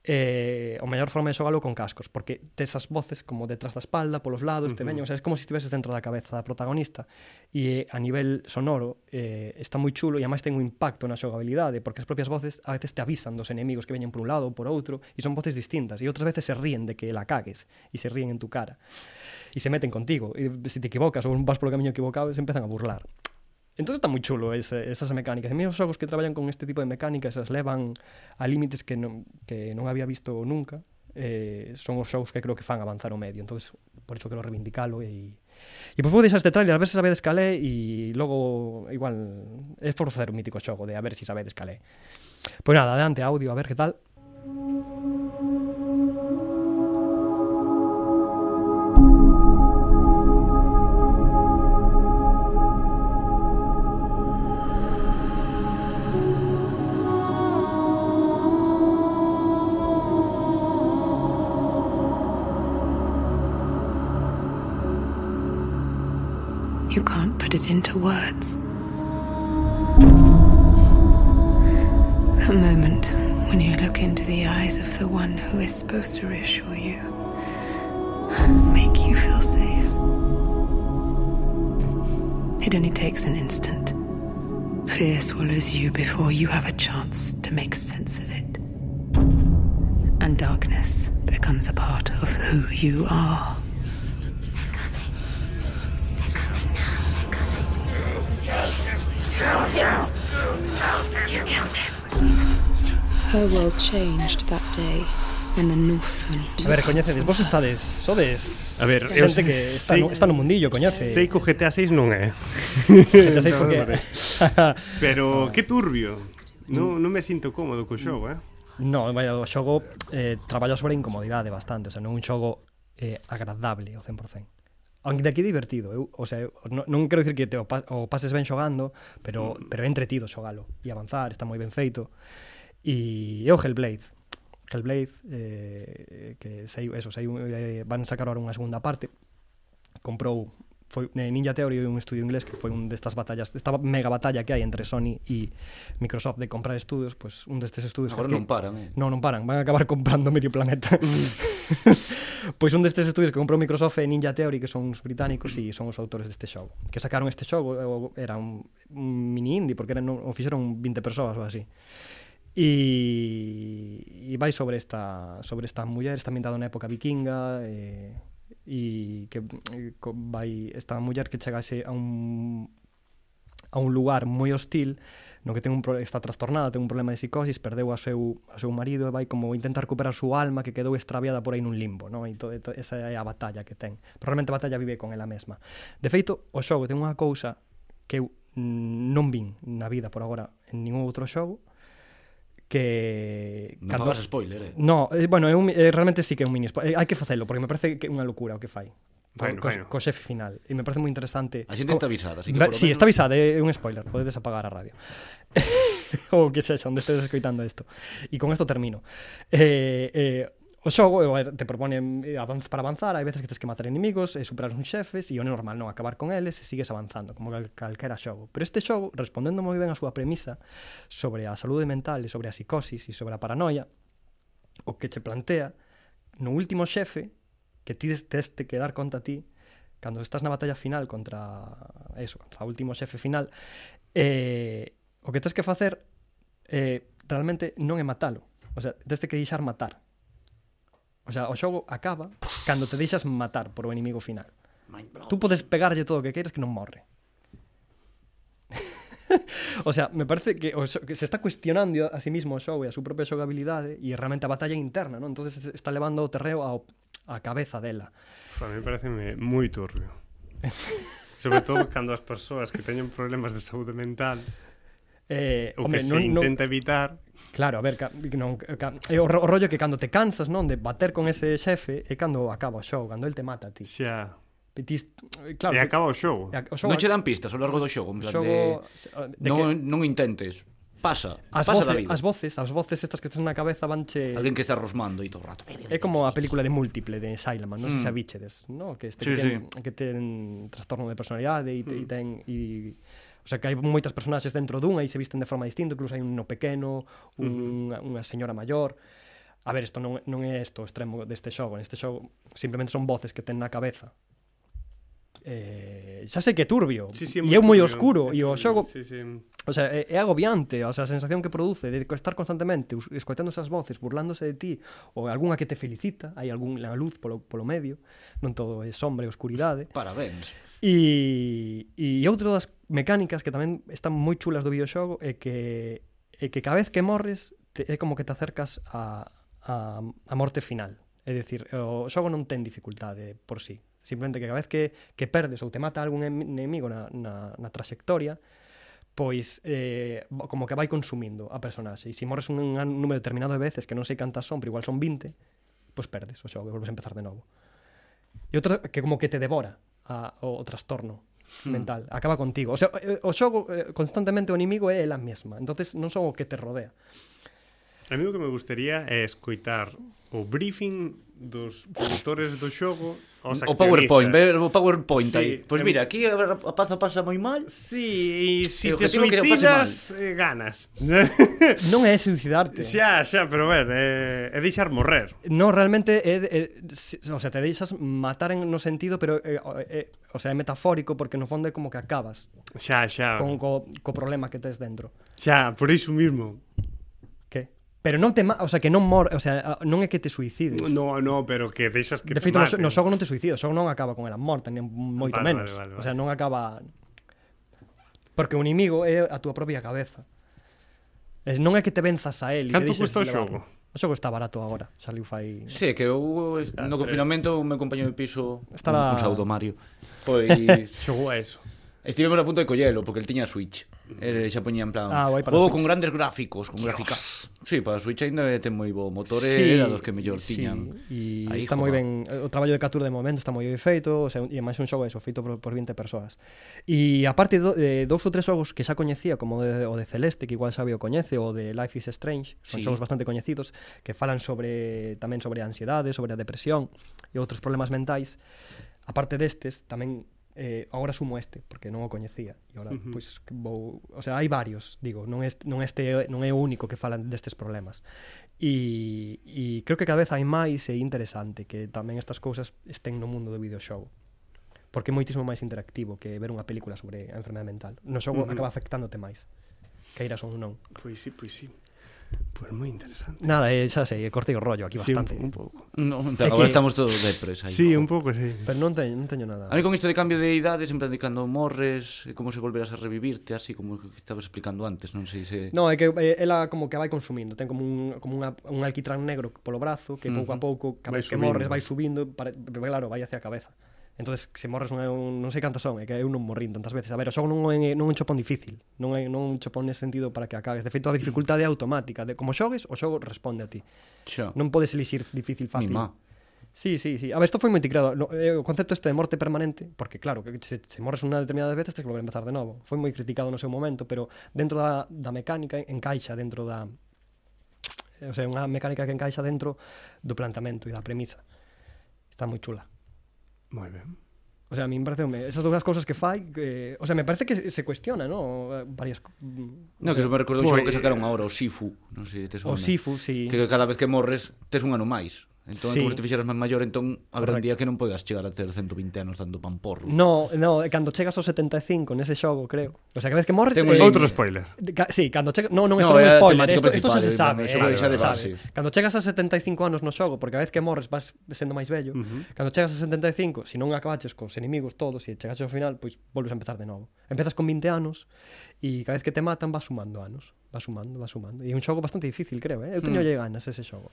eh, o mellor forma de xogalo con cascos, porque te esas voces como detrás da espalda, polos lados, te veñen, o sea, é como se estiveses dentro da cabeza da protagonista e eh, a nivel sonoro eh, está moi chulo e ademais ten un impacto na xogabilidade, porque as propias voces a veces te avisan dos enemigos que veñen por un lado ou por outro e son voces distintas e outras veces se ríen de que la cagues e se ríen en tu cara e se meten contigo e se te equivocas ou vas polo camiño equivocado se empezan a burlar Entón está moi chulo ese, esas mecánicas. E mesmo os xogos que traballan con este tipo de mecánicas as levan a límites que non, que non había visto nunca. Eh, son os xogos que creo que fan avanzar o medio. Entón, por iso quero reivindicalo e... E pois vou deixar este trailer, a ver se sabedes calé e logo, igual, é por facer un mítico xogo de a ver se si sabedes calé. Pois nada, adelante audio, a ver que tal.
You can't put it into words. That moment when you look into the eyes of the one who is supposed to reassure you, make you feel safe. It only takes an instant. Fear swallows you before you have a chance to make sense of it. And darkness becomes a part of who you are. Her world changed that day when the Northmen
A ver, coñecedes, vos estades, sodes...
A ver, eu
xente que está, no, está no mundillo, coñece.
Sei que o GTA 6 non é,
Xente sei porque...
pero que turbio. Non
Mm.
non me sinto cómodo co xogo, eh.
No, vaya, o xogo eh, traballa sobre a incomodidade bastante, o sea, non é un xogo eh, agradable ao 100%. Aunque de aquí divertido, eu, o sea, eu non, non quero dicir que te o, pa, o pases ben xogando, pero
Mm.
pero é entretido xogalo e avanzar, está moi ben feito. E é o Hellblade. Hellblade eh, que sei, eso, sei, eh, van sacar agora unha segunda parte comprou foi eh, Ninja Theory un estudio inglés que foi un destas batallas, esta mega batalla que hai entre Sony e Microsoft de comprar estudios, pois pues, un destes estudios
Agora
que-
non paran, eh.
Non, non paran, van a acabar comprando medio planeta. pois un destes estudios que comprou Microsoft é Ninja Theory, que son uns británicos e son os autores deste xogo. Que sacaron este xogo, eh, o- era un, un mini indie, porque eran, o fixeron 20 persoas ou así. E, e vai sobre esta sobre esta muller, está ambientado na época vikinga, e, e que eh, co- vai esta muller que chegase a un a un lugar moi hostil no que ten un pro- está trastornada, ten un problema de psicosis, perdeu a seu, a seu marido e vai como intentar recuperar a súa alma que quedou extraviada por aí nun limbo, non? E todo, to, esa é a batalla que ten. Pero realmente a batalla vive con ela mesma. De feito, o xogo ten unha cousa que eu mm, non vin na vida por agora en ningún outro xogo que
Non fagas spoiler, eh.
No, eh, bueno, é un, eh, realmente sí que é un mini spoiler. Eh, hai que facelo, porque me parece que é unha locura o que fai.
Bueno,
co,
bueno.
co xefe final. E me parece moi interesante.
A xente está avisada, así que
Ve-
por
Oh,
lo
sí,
menos-
está avisada, é un spoiler, podedes apagar a radio. ou que sexa, onde estedes escoitando isto. E con isto termino. Eh, eh, o xogo eh, te propone eh, avanz para avanzar, hai veces que tens que matar enemigos, e superar uns xefes, e o normal non acabar con eles, e sigues avanzando, como cal, calquera xogo. Pero este xogo, respondendo moi ben a súa premisa sobre a saúde mental, e sobre a psicosis, e sobre a paranoia, o que che plantea no último xefe que ti des- tes te que dar conta ti cando estás na batalla final contra eso, contra o último xefe final eh, o que tes que facer eh, realmente non é matalo o sea, tes que deixar matar o sea, o xogo acaba cando te deixas matar por o inimigo final tú podes pegarlle todo o que queiras que non morre O sea, me parece que, o xo- que se está cuestionando a sí mismo o xogo e a súa propia xogabilidade e realmente a batalla interna, non? Entonces está levando o terreo ao a cabeza dela.
Uf, A mí pareceme moi turbio. Sobre todo cando as persoas que teñen problemas de saúde mental
Eh,
ou
hombre,
que se
non, non,
intenta evitar
claro, a ver, ca, non, ca, é o, ro- o rollo que cando te cansas, non, de bater con ese xefe é cando acaba o show, cando el te mata a ti.
xa
E ti
e
claro, ti-
acaba o xogo.
e a- o xogo,
Non che dan pistas ao largo do xogo, en plan
xogo
de...
de
non,
que
non intentes. Pasa,
as, voce,
pasa da vida.
as voces, as voces estas que tes na cabeza vanche
Alguén que está rosmando e todo o rato.
É como a película de Múltiple de Silent,
Mm.
non sei se a bichedes, no? que este que,
Sí,
ten, que ten trastorno de personalidade e,
Mm.
te- e ten e O sea, que hai moitas personaxes dentro dunha e se visten de forma distinta, incluso hai uno pequeno, un, unha señora maior. A ver, isto non, non é isto o extremo deste xogo, neste xogo simplemente son voces que ten na cabeza. Eh, xa sei que é turbio
Sí, sí,
e é moi
turbio,
oscuro
é
e o
turbio,
xogo
Sí, sí.
O sea, é, é agobiante, o sea, a sensación que produce de estar constantemente us- escoitando esas voces, burlándose de ti, ou algunha que te felicita, hai algunha luz polo, polo medio, non todo é sombra e oscuridade.
Parabéns.
E, e outra das mecánicas que tamén están moi chulas do videoxogo é que é que cada vez que morres te, é como que te acercas a, a, a morte final. É dicir, o xogo non ten dificultade por sí. Simplemente que cada vez que, que perdes ou te mata algún em- enemigo na, na, na traxectoria, pois eh, bo- como que vai consumindo a personaxe. E se morres un, un número determinado de veces, que non sei cantas son, pero igual son 20, pois perdes o xogo e volves a empezar de novo. E outra que como que te devora a, o, o trastorno mental, acaba contigo. O sea, eh, o xogo eh, constantemente o inimigo é ela mesma. Entonces non son o que te rodea.
A mí o que me gustaría é escoitar o briefing dos produtores do xogo aos
O PowerPoint,
accionistas.
ver o PowerPoint
Sí,
aí. Pois
em-
mira, aquí a ver, a paza pasa moi mal.
Sí, e se
E o
te
objetivo é que non pase mal.
suicidas, eh, ganas.
Non é suicidarte.
xa, xa, pero ver, eh, é deixar morrer.
No, realmente é, é, si- o sea, te deixas matar en no sentido, pero eh, o- é, o sea, é metafórico porque no fondo é como que acabas
Xa, xa,
con co, co problema que tes dentro.
xa, por iso mismo.
Que? Pero non te, ma- o sea, que non mor, o sea, a- non é que te suicides.
No, no, pero que deixas que te
de feito, no,
maten.
xo- no xogo non te suicidas, o xogo non acaba con ela morta, nin moito
Vale,
menos.
vale, vale,
O sea, non acaba porque o inimigo é a túa propia cabeza. Es, non é que te venzas a él e te
Canto
deixes
custa o
levar.
xogo?
O xogo está barato agora, saliu fai
Sí, que eu es- no
tres.
confinamento o meu compañero de piso,
Estará-
un, un saúdo Mario, pois
Xogou a eso.
Estivemos a punto de collelo, porque el tiña Switch. El xa poñía en plan,
Ah, guai para
juego
Switch.
con grandes gráficos, con gráficas. Sí, para Switch ainda ten moi bo motor,
Sí,
era dos que mellor tiñan.
Sí, e
Aí,
está moi
jova.
ben, o traballo de Capture de momento está moi ben feito, o sea, e máis un xogo eso, feito por, por 20 persoas. E aparte do, eh, dous ou tres xogos que xa coñecía, como de, o de Celeste, que igual Xavi o coñece, o de Life is Strange, son
Sí.
xogos bastante coñecidos que falan sobre tamén sobre a ansiedade, sobre a depresión e outros problemas mentais. Aparte destes, tamén eh, agora sumo este, porque non o coñecía e agora, uh -huh. pois, que vou, o sea, hai varios digo, non, est, non, este, non é o único que falan destes problemas e, e creo que cada vez hai máis e é interesante que tamén estas cousas estén no mundo do videoxogo porque é moitísimo máis interactivo que ver unha película sobre a enfermedade mental no xogo uh -huh. acaba afectándote máis queiras ou non
Pois sí, pois sí. Pois moi interesante.
nada, eh, xa sei, cortei o rollo aquí bastante
Sí, un, un pouco.
No,
É
agora
que-
estamos todos depres aí.
Sí,
jo.
un pouco, sí.
pero non teño, non teño nada
A mí con isto de cambio de idades, en plan de cando morres, e como se volverás a revivirte, así como que estabas explicando antes, non sei se...
No, é que eh, ela como que vai consumindo, ten como un como unha, un alquitrán negro polo brazo que pouco a pouco cada
Vai
vez que
subindo.
morres vai subindo, para, pero claro, vai hacia a cabeza. Entonces, se morres non, é un, non sei cantas son, é que eu non morrín tantas veces. A ver, o xogo non é non é un chopón difícil, non é non é un chopón nese sentido para que acabes. De feito, a dificultade é automática, de como xogues, o xogo responde a ti.
Xa.
Non podes elixir difícil
Mi
fácil.
má.
Sí, sí, sí. A ver, isto foi moi ticrado. No, eh, o concepto este de morte permanente, porque claro, que se, se morres unha determinada vez tens que volver a empezar de novo. Foi moi criticado no seu momento, pero dentro da, da mecánica encaixa dentro da... eh, O sea, unha mecánica que encaixa dentro do plantamento e da premisa. Está moi chula.
Moi ben.
O sea, a mí me parece... Esas dúas cousas que fai... Que, o sea, me parece que se, se cuestiona, ¿no? Eh, Varias... co- mm,
No, que eso me recordou
Pois,
xo que sacaron agora o Sifu, non sei, tes
O Sifu, sí.
Que cada vez que morres tes un ano máis. Entón,
Sí.
sí. como se te fixeras máis maior, entón habrá un
Correcto.
día que non podas chegar a ter 120 anos dando pan porro.
No, no, eh, cando chegas aos 75 nese xogo, creo. O sea, cada vez que morres...
Ten un
eh,
límite.
Outro spoiler.
Ca- Sí, cando chega... Non, non,
No,
isto non é
é a
spoiler,
temática
isto, isto xa
principal,
se
é
sabe,
unha
eh,
xoga
que xa
se
de
sabe.
base.
Cando chegas a 75 anos no xogo, porque a vez que morres vas sendo máis vello, uh -huh. cando chegas a 75, se non acabaches cos inimigos todos e chegaches ao final, pois volves a empezar de novo. Empezas con 20 anos e cada vez que te matan vas sumando anos, vas sumando, vas sumando. E é un xogo bastante difícil, creo, eh? Eu teño mm. ganas ese xogo.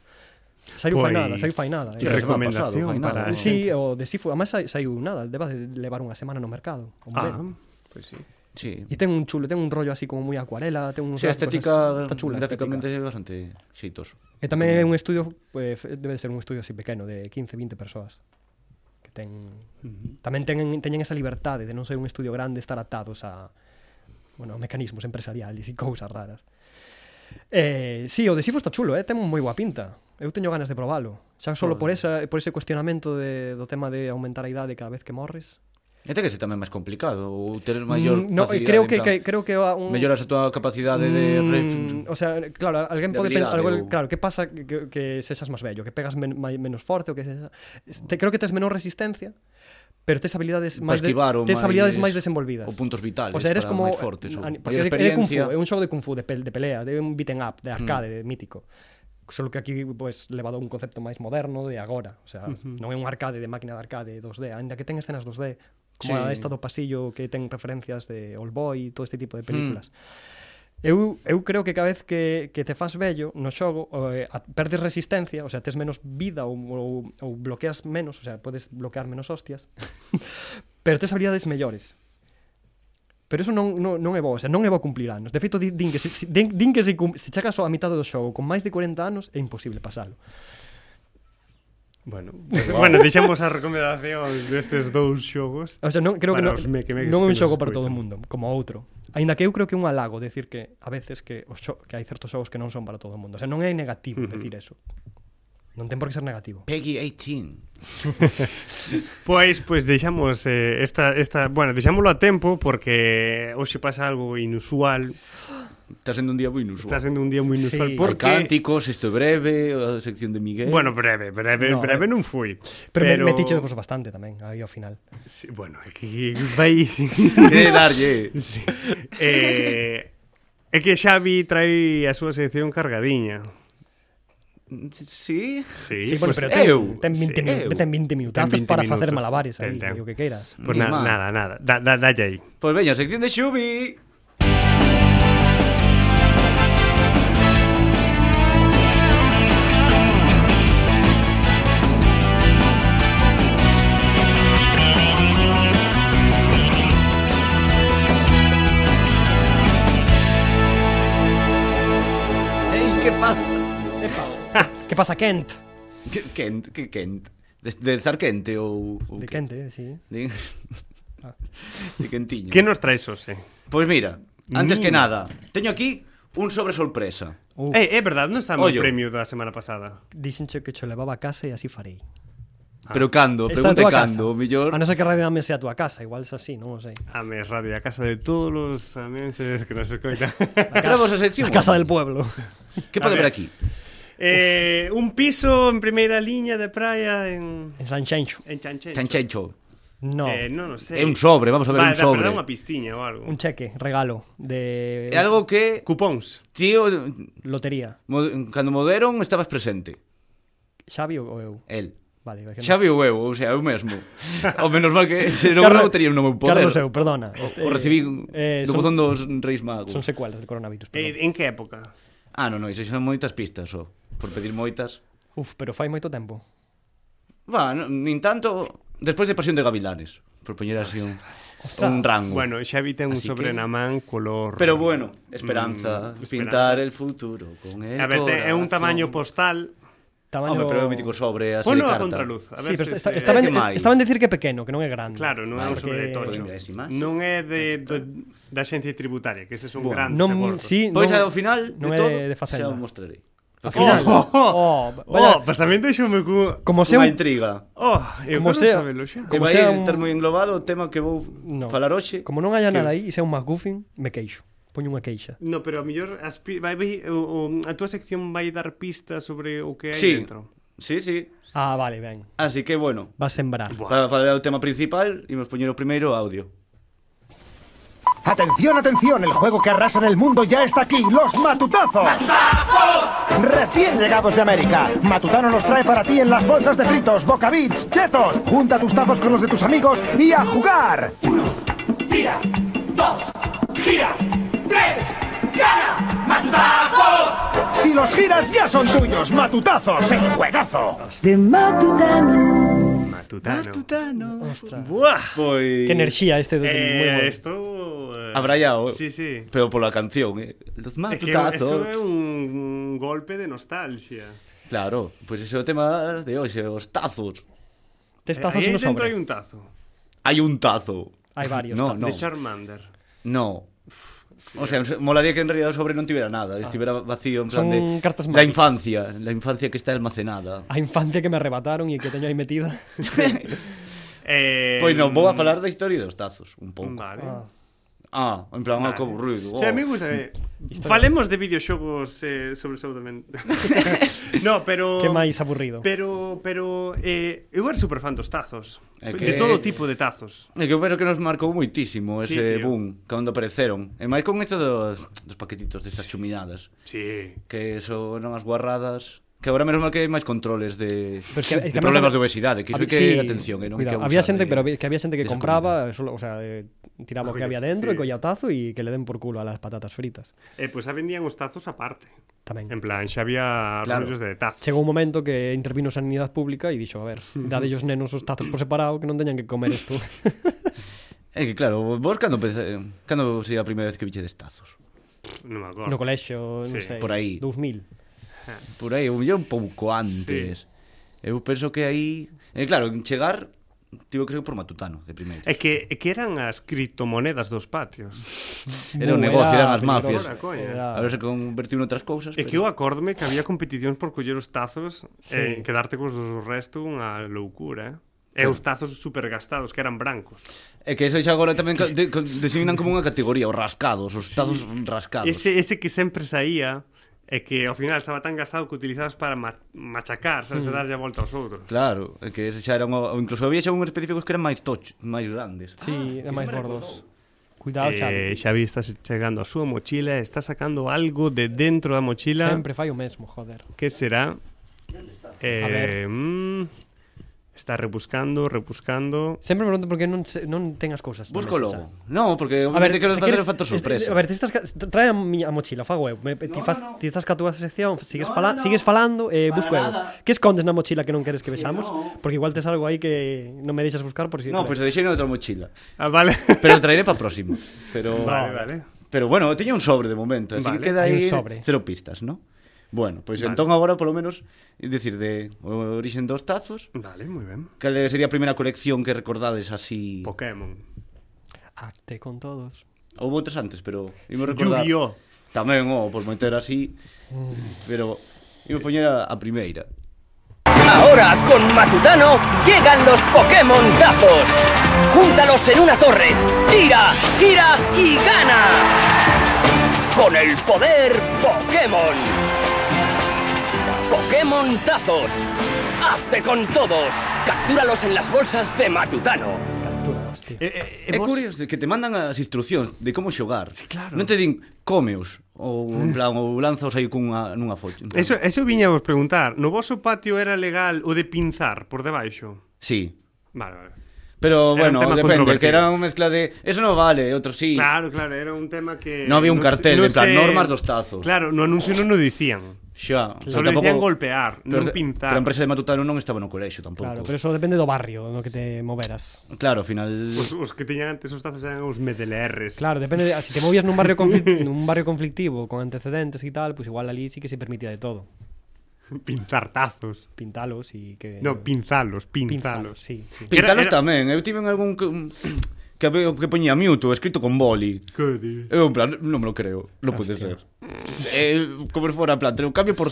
Saiu fai nada, saiu fai nada.
Sí,
Eh.
la semana pasada,
recomendación
fai nada,
para
¿no?
a
Sí,
xente.
o de Sifu, además sai- saiu nada, leva de levar unha semana no mercado. Hombre.
Ah, pois sí.
Sí.
E ten un chulo, ten un rollo así como moi acuarela, ten un
Sí, a estética
está chula, a
gráficamente
estética.
é bastante xeitoso.
E tamén é un estudio, pues, debe ser un estudio así pequeno de 15, 20 persoas que ten tamén teñen teñen esa libertade de non ser un estudio grande estar atados a bueno, a mecanismos empresariales e cousas raras. Eh, sí, o de Sifo está chulo, eh, ten moi boa pinta. Eu teño ganas de probalo. Xa solo por esa por ese cuestionamento de, do tema de aumentar a idade cada vez que morres.
Este que se tamén máis complicado ou ter maior
Mm, no, eh,
facilidade,
creo
en
que,
plan,
que creo que a un
melloras a tua capacidade de ref...
Mm, o sea, claro, alguén
de
pode pensar,
habilidade
algo,
ou-
claro, que pasa que, que, que sexas máis vello, que pegas men, mai, menos forte ou que sexa. Te, creo que tes menor resistencia, pero tes habilidades
para
máis de,
esquivar ou
tes habilidades máis
máis
desenvolvidas.
ou puntos vitales
O sea, eres
para
como eh,
máis fortes ou
ani-
maior
porque é de, é de kung fu, é
experiencia.
un xogo de kung fu de, pel, de pelea, de un beat 'em up, de arcade, mm. de mítico. Solo que aquí pues levado a un concepto máis moderno de agora, o sea, uh -huh. non é un arcade de máquina de arcade 2D, aínda que ten escenas 2D, como sí.
Sí.
a esta do pasillo que ten referencias de Old Boy e todo este tipo de películas. Eu, eu creo que cada vez que, que te fas vello no xogo eh, a- perdes resistencia, o sea, tes menos vida ou, ou, ou bloqueas menos, o sea, podes bloquear menos hostias, pero tes habilidades mellores. Pero eso non, non, non é bo, o sea, non é bo cumplir anos. De feito, di- din que se, se- din, din que se, cum- se chegas á mitad do xogo con máis de 40 anos é imposible pasalo.
Bueno, pues, bueno, deixamos a recomendación destes dous xogos.
O sea, non, creo
Para os
que non,
mequemeques
non
que
é un
nos
xogo para todo o
escoitan.
mundo, como outro. Ainda que eu creo que é un halago decir que a veces que os xo, que hai certos xogos que non son para todo o mundo. O sea, non é negativo uh -huh. decir eso. Non ten por que ser negativo.
Peggy 18.
Pois, pois deixamos eh, esta, esta, bueno, deixámoslo a tempo porque hoxe pasa algo inusual,
Está sendo un día moi inusual.
está sendo un día moi inusual sí.
Sí.
Hai
porque
cánticos, isto é breve, a sección de Miguel.
Bueno, breve, breve,
No,
no, breve
eh.
non foi.
Pero,
pero...
pero... me, metiche pues, bastante tamén, aí ao final.
Sí, bueno, é que vai
que darlle.
sí. eh, É que Xavi trae a súa sección cargadiña.
Sí.
Sí,
Sí, bueno,
pois-
pero ten,
eh, eu,
ten 20,
sí,
min,
eu.
ten 20 minutazos
Ten 20
para facer
minutos.
malabares aí,
Ten, ten.
o que queiras.
Pois
Ni
na,
má.
nada, nada. Da, da, dalle aí.
Pois veña, sección de Xubi. Ei, que pasa?
Que pasa, Kent?
Que quente, que quente. De, de estar quente ou... ou
De Ah.
que-
Kent, eh, sí.
De, de quentiño.
Que nos traes hoxe?
Pois mira, antes que
Mira.
nada, teño aquí un sobre sorpresa.
Uh.
Eh, é verdade, non está o
Ollo.
premio da semana pasada.
Dixenche que cho levaba a casa e así farei.
Pero cando,
Ah. Está
pregunte
a túa
cando,
casa. Ah,
o mellor.
A non ser que Radio Dame sea a túa casa, igual é así, non o sei.
A mes radio, a casa de todos os amenses que nos escoitan.
Grabamos a sección.
A casa del pueblo.
Que
A
pode
ver.
haber aquí?
eh, un piso en primeira liña de praia en
En San Xenxo.
en Chanchen.
Chanchecho.
No.
Eh, non o sei.
É un sobre, vamos a ver,
vale,
un sobre.
Vale, unha pistiña ou algo.
Un cheque, regalo, de
É algo que,
Cupóns.
tío,
lotería.
mo- cando moderon estabas presente.
Xavi ou eu?
El.
Vale, é que non-
Xa viu eu, ou sea, eu mesmo. Ao menos mal que se non
Carlos-
eu tería no meu poder.
Carlos eu, perdona. Este,
O recibí
eh,
do
son-
botón dos Reis Magos.
Son secuelas del coronavirus, perdón.
Eh, en que época?
Ah, non, non, iso son moitas pistas, só. Por pedir moitas.
Uf, pero fai moito tempo.
Va, non, nin tanto, despois de Pasión de Gavilanes, por poñer así un,
Ostras.
un rango.
Bueno, Xavi ten un
Así
sobre
que-
na man color.
Pero bueno, esperanza,
Mm,
pintar el futuro con el
A ver, te- é un
corazón.
tamaño postal
Tamaño...
Home, pero é o mítico sobre a
Ponlo a
sedicarta.
contraluz. A
Sí,
ver
pero
se,
está,
se-
está ben,
que máis?
está ben decir que é pequeno, que non é grande.
Claro, non é un
Porque-
sobretocho.
Podemos ver as imaxes.
Non é de, do, da xencia tributaria, que ese son
Bueno,
grandes
Non,
abortos.
sí,
Pois
non-
ao final de
non é
todo
de
xa
Facenda.
o mostrarei.
Ao final.
Oh, oh,
Oh,
oh,
vaya-
pues tamén deixoume cu...
Como se un...
Unha intriga.
Oh, eu
Como
quero
sea-
sabelo xa.
Que
Como
vai
sea
sea
un-
estar moi englobado o tema que vou
No.
falar hoxe.
Como non haya
Que-
nada aí, se é un MacGuffin, me queixo. Poño unha queixa.
No, pero a mellor as pi... vai, vai, o, o, a túa sección vai dar pistas sobre o que hai
Sí.
dentro.
Sí, sí.
Ah, vale, ben.
Así que, bueno,
Vas sembrar.
Buah.
para falar o tema principal, imos poñer o primeiro audio.
Atención, atención, el juego que arrasa en el mundo ya está aquí, los matutazos. Recién llegados de América, Matutano los trae para ti en las bolsas de fritos, bocabits, chetos. Junta tus tazos con los de tus amigos y a jugar. Si los giras ya son tuyos, matutazos, el juegazo.
Ah,
Matutano.
Tutano.
Ostras.
Buah!
Pois...
Que enerxía este do moi
Eh,
bueno.
estou... eh,
Habrá ya o...
Sí, sí.
Pero pola canción, eh. Los
É que eso
matutazos.
é un golpe de nostalgia.
Claro, pois ese é o tema de hoxe, os tazos.
Tes tazos
Eh, aí
no
dentro hai
sobre.
un tazo.
Hai un tazo.
Hai varios tazos.
no, No,
De Charmander.
no. O sea, molaría que en realidad o sobre non tivera nada, estivera vacío en
Ah.
plan
Son
de
cartas
la
mágicas.
infancia, la infancia que está almacenada.
A infancia que me arrebataron e que teño aí metida.
Eh,
Pois non, vou a falar da historia dos tazos, un
Em,
pouco.
Vale.
Ah.
Ah, en plan, ah, que aburrido.
O sea, a mí me gusta eh, Falemos de videoxogos eh, sobre absolutamente No, pero
Que máis aburrido.
Pero, pero eh, eu era superfan dos tazos
É
que... De
que-
todo tipo de tazos
É que eu penso que nos marcou moitísimo
Sí,
ese
tío.
boom cando apareceron. E máis con isto dos, dos paquetitos destas chuminadas,
Sí
que son as guarradas, que agora menos mal que hai máis controles de,
Pero es que- es
de
que
problemas
además-
de obesidade, que iso
Había- sí,
que atención, eh, non
cuidado.
hai que
había
abusar
xente,
de-
pero había- que había xente que
desa
compraba, solo, o sea, eh, tiraba o que
Joder,
había dentro e
sí.
collía o tazo e que le den por culo a las patatas fritas.
E eh, pois pues, vendían os tazos aparte
Tamén.
En plan, xa había
Claro.
rollos de tazos
Chegou un momento que intervino Sanidade Pública e dixo, a ver, dade os nenos os tazos por separado que non teñan que comer isto.
É que claro, vos cando pensé, cando sería a primeira vez que viche destazos?
Non me acordo
no colexio, non
Sí,
sei,
por aí.
2000.
Por aí, ou mellor un pouco antes. Eu penso que aí, eh, claro, en chegar tivo que ser por matutano de primeiro.
É que, é que eran as criptomonedas dos patios
Era un negocio, eran as
peligroso,
mafias.
Ahora, coñas.
era-
Agora se convertiu noutras cousas,
É que eu acordome que había competicións por coller os tazos sí. e quedarte cos do resto unha loucura, eh? E os tazos supergastados que eran brancos.
É que eso xa agora tamén co- de, co- designan como unha categoría, os rascados, os tazos rascados.
Ese, ese que sempre saía e que ao final estaba tan gastado que utilizabas para ma machacar, sabes, mm. darlle a volta aos outros.
Claro, é que ese xa era un, ou incluso había xa uns específicos que eran máis toch, máis grandes.
Sí, ah, máis gordos. Cuidado,
Eh,
Xavi.
Xavi está chegando a súa mochila, está sacando algo de dentro da mochila.
Sempre fai o mesmo, joder.
Que será?
ver.
Eh, mm, está rebuscando, rebuscando.
Sempre me pregunto por que non, se, non ten as cousas. na
Busco
mesa,
logo.
Xavi.
No, porque obviamente
se
quero facer
queres-
o factor
este-
sorpresa.
A ver, ti estás ca- trae a miña mochila, fago eu. Me, ti, fas, ti estás ca túa sección, sigues, fala, sigues falando e eh, busco eu. Que escondes na mochila que non queres que vexamos? Porque igual tes algo aí que non me deixas buscar por si
No, pois pues, deixei na outra mochila.
Ah, vale.
Pero traeré para próximo. Pero
Vale, vale.
Pero bueno, teño un sobre de momento, así
Vale.
que
Hai
queda
un
aí
sobre.
cero pistas, ¿no? Bueno, pois pues, entón agora polo menos é dicir de o origen dos tazos,
Vale, moi ben.
cal sería a primeira colección que recordades así?
Pokémon.
Acte Ah, con todos.
Houve outras antes, pero imos recordar.
Yu-Gi-Oh!
Tamén, oh, por meter así, pero
Eh,
imos poñer a, a primeira.
Ahora con Matutano llegan los Pokémon Tazos. Júntalos en una torre, tira, gira y gana. Con el poder Pokémon. Pokémon Tazos. Hazte con todos. Captúralos en las bolsas de Matutano.
Captura, hostia.
Eh, eh,
É curioso que te mandan as instruccións de como xogar. Sí,
claro. Mm.
Non te din comeos ou en plan ou lanzaos aí cunha nunha folla. en plan.
Eso, eso viña a vos preguntar. No vosso patio era legal o de pinzar por debaixo?
Sí.
Vale, vale. Era un
Pero bueno,
tema
depende,
controvertido.
que era unha mezcla de eso non vale, outro sí.
Claro, claro, era un tema que...
No había un cartel,
de
en plan, normas dos tazos.
Claro, no anuncio non o dicían.
Xa,
Só le dicían golpear,
pero,
non pinzar.
Pero a empresa de Matutano non estaba no colexio tampouco.
Claro, pero eso depende do barrio no que te moveras.
Claro, ao final
Os, os que tiñan antes os tazos eran os medelerres.
Claro, depende de, si te movías nun barrio conflict, nun barrio conflictivo con antecedentes e tal, pois pues igual ali sí que se permitía de todo.
Pintartazos.
Pintalos y que...
No, pinzalos, pinzalos.
Pinzalos, Eh, sí, sí.
Era-
Pintalos
era-
tamén. Eu tive en algún que, que, veo que poñía Mewtwo escrito con boli.
Que di?
Eu Eh, en plan, non me lo creo, non pode ser. Eh, como se fora, en plan, te lo cambio por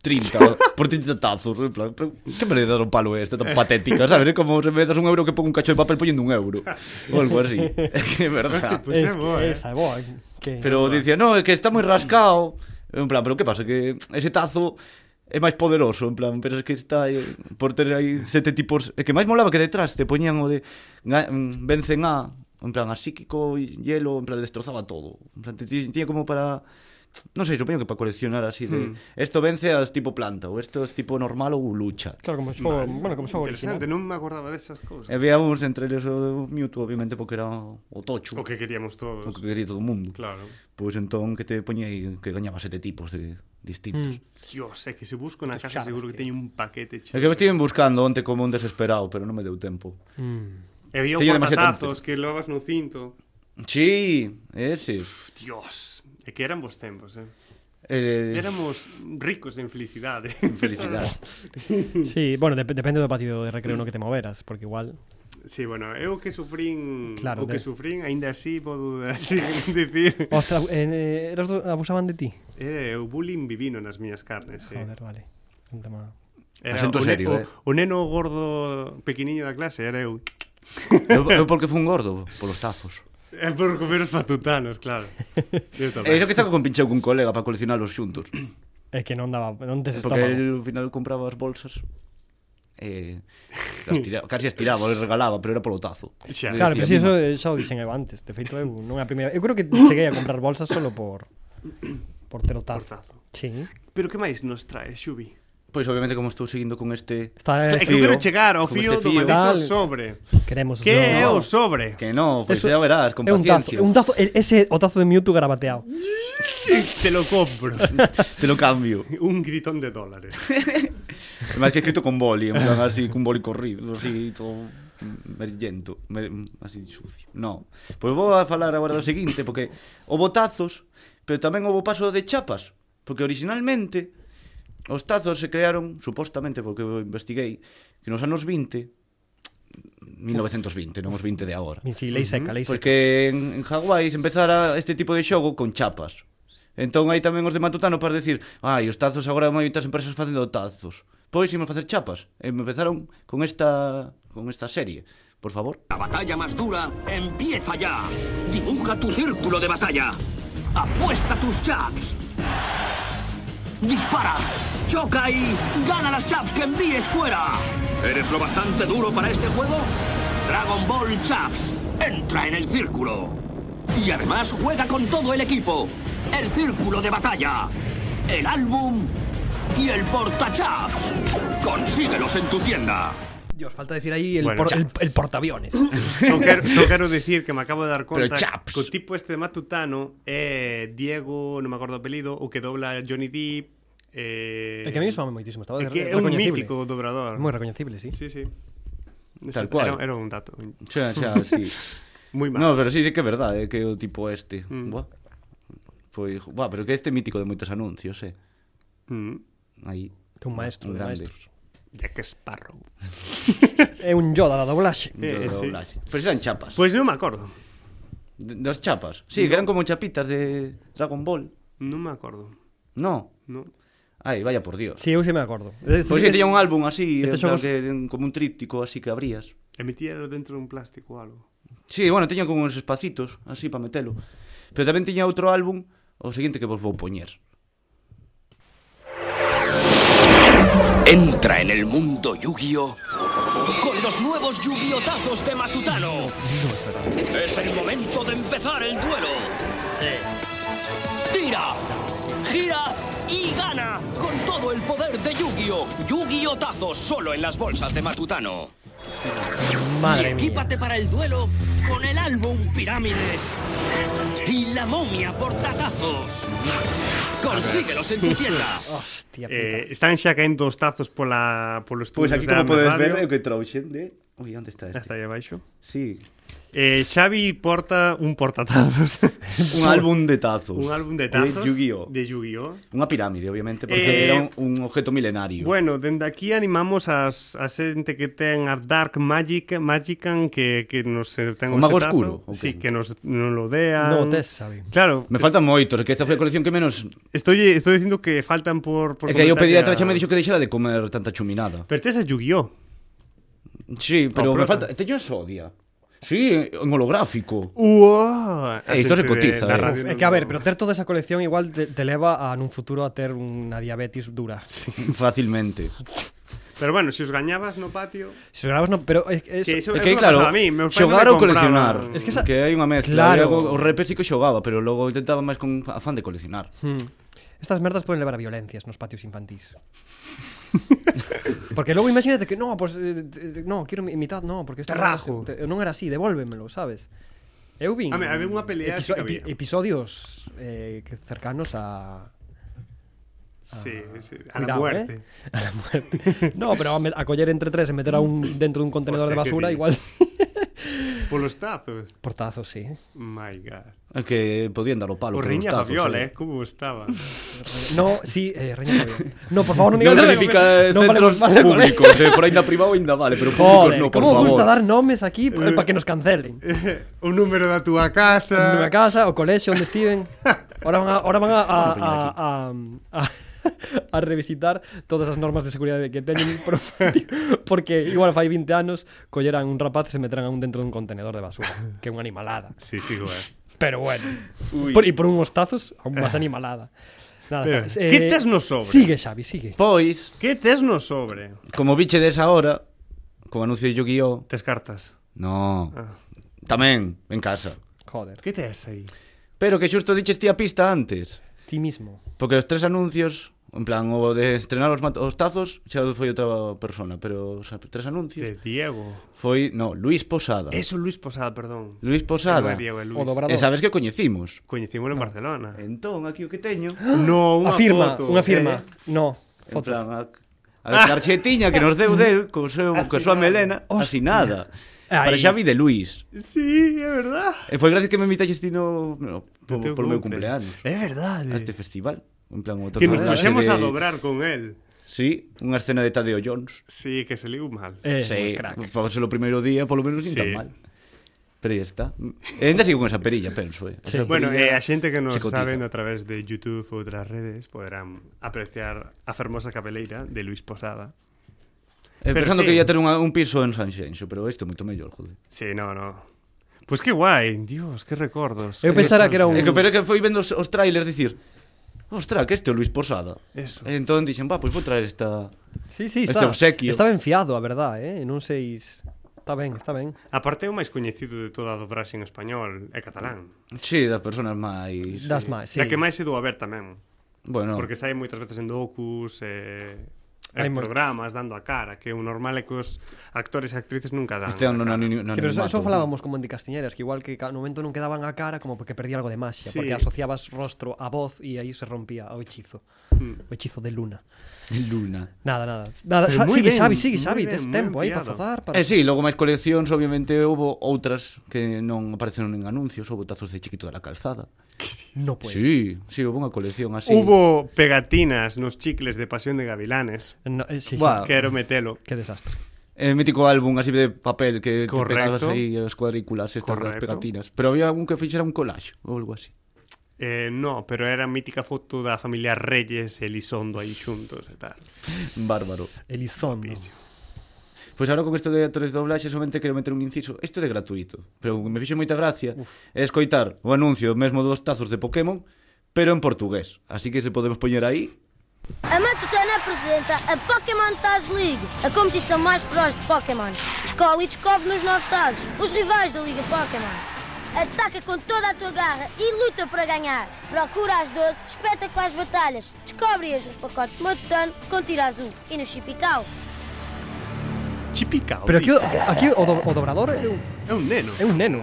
30, por 30 tazos, en plan, pero, que me le dar un palo este tan patética, sabes? É como se me das un euro que pongo un cacho de papel poñendo un euro, ou algo así. É que é verdad.
Pois é
es que
boa, eh.
esa é boa. Que...
Pero dicía, no, é que está moi rascado. En plan, pero que pasa? Que ese tazo é máis poderoso, en plan, pero es que está eh, por ter aí sete tipos, é que máis molaba que detrás te poñían o de ga- mm, vencen a, en plan, a psíquico, hielo, en plan, destrozaba todo. En plan, te- ti- tiña como para Non sei, supoño que para coleccionar así de Esto vence a tipo planta Ou esto es tipo normal ou lucha
Claro, como xogo, bueno, como xogo
Interesante,
original.
non me acordaba desas cousas.
E veamos entre eles o Mewtwo Obviamente porque era o tocho
O que queríamos todos.
o que quería todo o mundo
Claro.
Pois entón que te poñía aí que gañaba sete tipos de distintos.
Hmm.
Mm.
Dios, é que se busco na casa
chaves,
seguro que
tío.
teño un paquete
É que me estiven buscando onte como un desesperado, pero non me deu tempo.
E había un
Teño demasiado
portatazos que levabas no cinto.
Sí, ese.
Pff, Dios, é que eran vos tempos, eh.
Eh,
Éramos ricos en felicidade.
Felicidade.
Sí, bueno, dep depende do patio de recreo no que te moveras, porque igual...
Sí, bueno, eu que sufrín,
Claro,
o que
de-
sufrín, aínda así podo así dicir,
Ostras, eh, eras do- abusaban de ti.
eh, o bullying vivino nas miñas carnes, eh.
Joder, vale. Un tema...
o,
Asunto
ne-
serio,
o,
eh.
o neno gordo pequeniño da clase era eu.
eu, eu porque fui un gordo, polos tazos.
É por comer os patutanos, claro. Eu
E
tamén.
iso que está con pincheu cun colega para coleccionalos xuntos.
É que non daba, non tes
Porque
estómago.
el, ao final compraba as bolsas eh, as tira, casi as tiraba, les regalaba, pero era polo tazo.
Xa.
Le
Claro, pero
decía,
si
"Mima".
eso eh, xa o dixen eu antes, de feito eu, non é a primeira. Eu creo que cheguei a comprar bolsas solo por por ter o tazo.
Portazo.
Sí.
Pero que máis nos trae, Xubi?
Eh,
Pois obviamente como estou seguindo con este...
Está eh,
É que eu
Fío.
quero chegar ao
Como
fío
este
do
fío.
maldito
Tal.
sobre.
queremos
Que é o
no.
sobre?
Que no, pois
Eso-
xa Pues verás, con
É un tazo,
paciencia.
é un tazo, eh, e- ese o tazo de Mewtwo garabateado.
Te lo compro.
Te lo cambio.
Un gritón de dólares.
Además que é escrito con boli, en plan así, cun boli corrido, mm, así, todo merillento, mer, así sucio. No. Pois vou a falar agora do seguinte, porque houbo tazos, pero tamén houbo paso de chapas, porque originalmente os tazos se crearon, supostamente, porque eu investiguei, que nos anos 20, 1920, non os 20 de agora.
Mi si lei seca, lei seca.
Porque en, en Hawái se empezara este tipo de xogo con chapas. Entón hai tamén os de Matutano para decir Ai, os tazos agora hai moitas empresas facendo tazos Pois imos facer chapas E empezaron con esta con esta serie Por favor
La batalla más dura empieza ya. Dibuja tu círculo de batalla. Apuesta tus chaps. Dispara, choca y gana las chaps que envíes fuera. ¿Eres lo bastante duro para este juego? Dragon Ball Chaps, entra en el círculo. Y además juega con todo el equipo. El círculo de batalla, el álbum y el portachaps. Consíguelos en tu tienda.
Dios, falta decir aí el,
Bueno,
por,
ya.
el, el portaaviones.
Só quero, só quero dicir que me acabo de dar conta
Pero chaps.
que o tipo este de Matutano é Diego, non me acordo o apelido, o que dobla Johnny Depp. Eh...
É que a mí soame moitísimo, estaba
É
de,
que é un
recoñecible.
mítico dobrador.
Moi recoñecible, sí.
Sí, sí.
Tal cual.
Era, era un dato
Xa, xa, sí
moi malo.
No, pero sí, sí que é verdade eh, Que o tipo este mm. Buah Pois, buah, pero que este é mítico de moitos anuncios, eh
Mm.
Aí
Que un maestro,
Un
un
grande.
maestro.
Jack Sparrow.
É un Yoda da doblaxe.
Eh,
do
sí.
doblaxe. Pero eran chapas
Pois pues non me acordo.
de- Das chapas Sí, que eran como chapitas de Dragon Ball
Non me acordo.
No
No.
Ai, vaya por dios
Si, sí, eu si me acordo. Este,
Pois sí, tiña Pues un álbum así,
Este
este
xogo
plan, que, como un tríptico así que abrías.
Emitíalo dentro dun plástico ou algo.
Sí, bueno, tiña como uns espacitos así para metelo. Pero tamén tiña outro álbum, o seguinte que vos vou poñer.
Entra en el mundo Yu-Gi-Oh! Con los nuevos Yu-Gi-Otazos de Matutano. es el momento de empezar el duelo. Tira, gira y gana con todo el poder de Yu-Gi-Oh! Yu-Gi-Oh! Tazos solo en las bolsas de Matutano.
Madre
y
mía.
equípate para el duelo con el álbum Pirámide y la momia por tatazos. Consíguelos en tu tienda.
Hostia, puta.
Eh, están xa Eh, caendo os tazos pola, polos
Pois
túneles
aquí
da
como podes
radio.
ver, é o que trouxen de Ui, onde está este?
Está aí abaixo.
Sí.
Eh, Xavi porta un portatazos.
Un álbum de tazos.
Un álbum de tazos.
De Yu-Gi-Oh.
De Yu-Gi-Oh.
Unha pirámide, obviamente, porque
Eh,
era un, un objeto milenario.
Bueno, dende aquí animamos as, a xente que ten a Dark Magic, Magican que, que nos eh, ten
O Mago
setazo.
Escuro, o
Sí, que nos, non lo dean.
No, tes, Xavi.
Claro,
Me faltan moitos, que esta foi a colección que menos...
estoy, estoy dicindo que faltan por... por
É que aí o
comentar ya-
pediatra xa me dixo que deixara de comer tanta chuminada.
Pero tes a Yu-Gi-Oh!
Sí, pero me
prota.
falta... Teño a Sodia. Sí, en holográfico.
Uoa!
Eh, isto se cotiza,
É
eh.
que a ver, pero ter toda esa colección igual te, te leva a nun futuro a ter unha diabetes dura. Sí.
Fácilmente.
Pero bueno, se os gañabas no patio...
Se os grabas no, pero é, é,
Que eso,
É que,
eso me
claro,
pasaba a mí, meus pais non
xogar
me
ou coleccionar.
compraban-
Es que esa-
que hai unha mezcla.
Claro.
Claro. O repes sí que xogaba, pero logo intentaba máis con afán de coleccionar.
Hmm. Estas merdas poden levar a violencias nos patios infantís. porque logo imagínate que no, pues, eh, eh, no, quero mi- mitad, no, porque isto
Te
non era
rajo.
así, te- non era así, devólvemelo, sabes? Eu vin.
Home, había unha pelea sí que había.
episodios eh, que cercanos a
Sí, sí, a la
Ah. Cuidado,
muerte.
eh. A la muerte. No, pero a me- a coller entre tres e meter a un dentro dun contenedor de
Hostia,
basura
¿qué
igual
Polos tazos.
portazos, sí.
My God.
É que podían dar o palo
O
por os
riña
tazos,
Fabiola, eh,
eh.
como estaba.
No, sí, eh, Reña Fabiola. No, por favor, non digas
Non verifica
no valemos
centros
máis, vale.
públicos, eh, por ainda privado ainda vale, pero
Joder,
públicos no, por
como
favor.
gusta dar nomes aquí eh, para que nos cancelen.
o número da túa casa.
Na casa, o colexio onde estiven. Ahora van a, ahora van a, a, a, a, a, a revisitar todas as normas de seguridade que teñen pro patio, porque igual fai 20 anos colleran un rapaz e se meterán a un dentro dun contenedor de basura, que é unha animalada.
Sí, sí, güey.
Pero bueno, por, e por uns tazos, aún máis animalada. Nada,
Pero,
está,
que tes no sobre?
Sigue, Xavi, sigue.
Pois,
Que tes no sobre?
como biche desa hora, como anuncio de Yu-Gi-Oh,
Tes cartas.
no,
Ah.
tamén, en casa.
Joder,
Que tes aí?
Pero que xusto diches ti a pista antes,
ti mismo.
porque os tres anuncios, en plan, o de estrenar os, mat- os tazos, xa foi outra persona, pero os tres
De
anuncios
Diego.
foi, no, Luis Posada.
Eso, Luis Posada, perdón.
Luis Posada.
Non é Diego, é Luis.
O do Bra-
E sabes que o Ah. coñecimos.
Coñecímolo en Barcelona.
Entón, aquí o que teño,
No, unha
Unha firma,
foto.
unha firma.
Eh,
No,
en
foto.
plan, a, a carxetiña que nos deu del, co seu, co súa
Asinada.
melena,
Hostia.
asinada.
Ai.
Para Xavi de Luis.
Eh, Sí, é verdad.
E foi gracias que me invitaxes ti no,
No
no po,
teu
polo meu
cumple.
cumpleaños.
É verdade.
A este festival. En plan, o
Que nos
torneo
puxemos
de-
a dobrar con él.
Sí, unha escena de Tadeo Jones.
Sí, que se liu mal.
Eh,
sí,
crack.
para ser o primeiro día, polo menos nin tan
Sí.
mal. Pero aí está. E ainda sigo con esa perilla, penso, eh.
Sí.
Esa
Bueno, eh,
perilla
a xente que nos
se cotiza.
saben a través de YouTube ou outras redes poderán apreciar a fermosa cabeleira de Luis Posada.
Eh,
pero
pensando
sí.
que ia ter unha, un piso en Sanxenxo, pero isto é moito mellor, joder.
Sí, no, no. Pois pues que guai, dios, que recordos. eh,
Eu
Que
pensara que era
nostalgia.
E que pero é que foi vendo os, os trailers dicir, ostra, que este é o Luis Posada.
Eso.
E entón dixen, va, pois vou traer esta...
Sí, sí,
Este
está.
obsequio.
Está ben fiado, a verdad, eh? Non sei... s- Está ben, está ben.
Aparte é o máis coñecido de toda a dobraxe en español e catalán.
Sí, das personas máis...
Das máis, sí.
Da que máis se dou a ver tamén.
Bueno,
Porque sai moitas veces en docus, eh,
Hai
en
moi-
programas, dando a cara, que o normal é que os actores e actrices nunca dan. a
este ano non,
cara.
non, non
Sí, pero eso, eso falábamos como en Dicastiñeras, que igual que ca- no momento non quedaban a cara como porque perdía algo de maxia,
Sí.
porque asociabas rostro a voz e aí se rompía o hechizo.
Hmm.
O hechizo de luna.
Luna.
Nada, nada. nada
Pero
sa-
moi
sigue
ben,
Xavi, sigue
moi
Xavi,
ben,
tes
moi
tempo aí
ben
para
fiado.
fazar, para
E eh, sí, logo máis coleccións, obviamente, houve outras que non apareceron en anuncios, houve tazos de chiquito da la calzada.
No pois.
Pues. Sí, sí, houve unha colección así.
Hubo pegatinas nos chicles de Pasión de Gavilanes.
No, eh, sí, sí.
Buah.
Quero metelo.
Que desastre.
Eh, mítico álbum así de papel que te
Correcto.
pegabas aí as cuadrículas estas das
Correcto.
pegatinas. Pero había un que fixera un collage ou algo así.
Eh, no, pero era a mítica foto da familia Reyes e Elizondo aí xuntos e tal.
Bárbaro.
Elizondo.
Pois agora con isto de actores de doblaxe solamente quero meter un inciso. Isto é gratuito, pero o que me fixo moita gracia Uf. é escoitar o anuncio mesmo dos tazos de Pokémon, pero en portugués. Así que se podemos poñer aí,
A Matutana apresenta a Pokémon Taz League, a competição mais feroz de Pokémon. Escolhe e descobre nos novos estados os rivais da Liga Pokémon. Ataca com toda a tua garra e luta para ganhar. Procura as 12 espetaculares batalhas. Descobre-as nos pacotes Matutano com tiro azul e no Chipical.
Chipicao.
Pero aquí,
tío.
o- aquí o, do, o dobrador é un,
É un neno.
é un neno.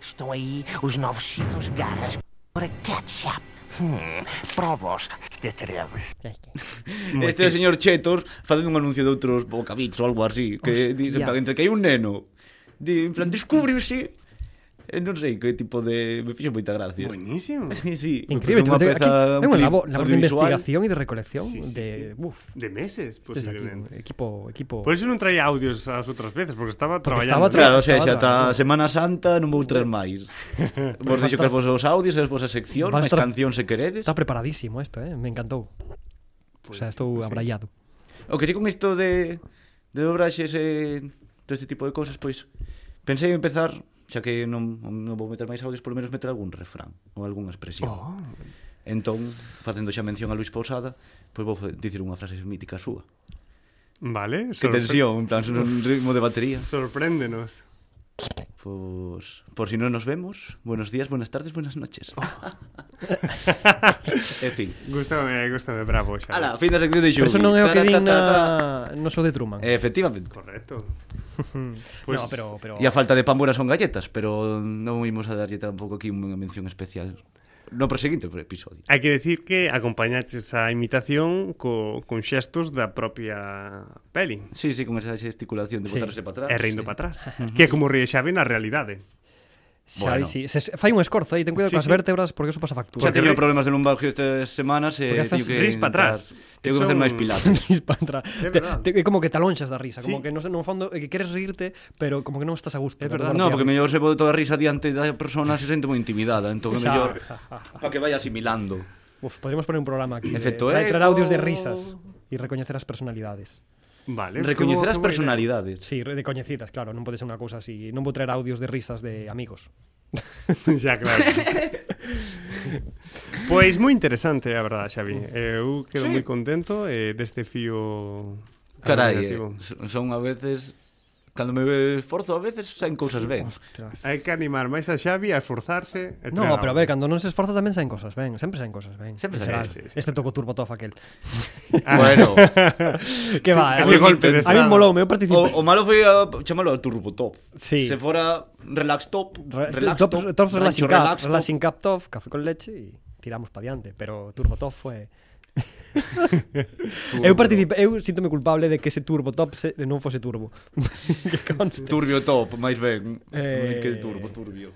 Estão aí os novos cintos garras para ketchup.
Hmm, provos que trebes.
Este é o señor Chetos facendo un anuncio de outros bocabichos ou algo así, que
Hostia.
dice, en plan, entre que hai un neno, di, en plan, descúbrese, eh, non sei que tipo de... me fixo moita gracia.
Buenísimo.
sí,
Increíble,
unha
tengo que-
peza,
aquí hay
un
una
clip
labor, labor de
audiovisual.
investigación y de recolección
Sí, sí,
de,
sí.
uf.
De meses,
Este es aquí,
posiblemente.
equipo, equipo.
Por eso non traía audios as outras veces, porque estaba
Porque
traballando.
Claro, o sea, xa está a Semana Santa non vou traer máis. Vos
Vas
dixo
estar-
que vos os audios, as vosas sección,
Vas
máis
estar-
canción se queredes.
Está preparadísimo esto, eh? Me encantou. o sea, estou abraiado.
O que si con isto de de dobraxes e todo este tipo de cosas, pois pensei en empezar, xa que non, non vou meter máis audios, por lo menos meter algún refrán ou algunha expresión.
Oh.
Entón, facendo xa mención a Luis Posada, pois vou fe- dicir unha frase mítica súa.
Vale.
Que tensión, en plan, son un ritmo de batería.
Sorpréndenos.
Pues, por si no nos vemos, buenos días, buenas tardes, buenas noches. en fin.
Gústame, gústame, bravo. Xa.
Ala, fin da sección de
Pero
Xubi.
eso non é o que
Ta, ta,
din
ta, ta.
na...
Eh,
No sou de Truman.
Efectivamente.
Correcto.
Pues... No, pero... pero...
E a falta de pan buenas son galletas, pero non imos a darlle tampouco aquí unha mención especial. No proseguinte episodio.
Hai que decir que acompañaches a imitación co, con xestos da propia peli.
Sí, sí, con esa gesticulación de
Sí.
botarse para atrás.
E rindo para atrás.
Ujú.
Que é como ríe Xavi na realidade.
Xavi, sí. Se, se, fai un escorzo aí, ten cuidado
Sí,
sí, coas
sí.
sí. vértebras porque eso pasa factura.
Xa teño problemas de lumbalgia estas semanas e
Porque haces-
teño que
ris pa
intentar-
atrás.
Teño que
Eso
facer
é
máis
un-
pilates.
Ris pa atrás.
É
Te,
verdad.
te, é como que te alonxas da risa, como
Sí.
que no, sé, no fondo é que queres rirte, pero como que non estás a gusto. É
No, porque mellor se vou toda a risa diante da persona se sente moi intimidada,
Xa.
entón é mellor para que vaya asimilando.
Uf, podríamos poner un programa aquí. de-
Efecto
para entrar
eco.
audios de risas e recoñecer as personalidades.
Vale.
Recoñecer as personalidades.
Sí, re- de coñecidas, claro, non pode ser unha cousa así. Non vou traer audios de risas de amigos.
Xa, claro. Pois moi interesante, a verdade, Xavi. Eh, Eu quedo moi
Sí.
contento eh, deste fío
Carai, eh,
argumentativo.
son- son a veces cando me esforzo a veces saen cousas ben.
Hai que animar máis a Xavi a esforzarse. e
No,
treinar.
pero a ver, cando non se esforza tamén saen cosas, ben, sempre saen cosas, ben.
Sempre
En
saen,
xeral.
sí, sí,
este tocou turbo tof aquel.
Ah. Bueno.
que va, a mí-
Ese golpe de
A mí
estado.
moloume, eu participei.
este O, o malo ah, foi a chamalo a turbo top.
Sí.
Se fora relax top,
Re-
relax
top,
top,
top relaxing,
rancho
cup,
relax top.
relaxing cup top, café con leche e tiramos pa diante, pero Turbo Top foi eu participe, eu sinto-me culpable de que ese Turbo Top se, non fose turbo. Que conste.
Turbio top, máis ben.
Eh.
Eh... Que turbo, turbio.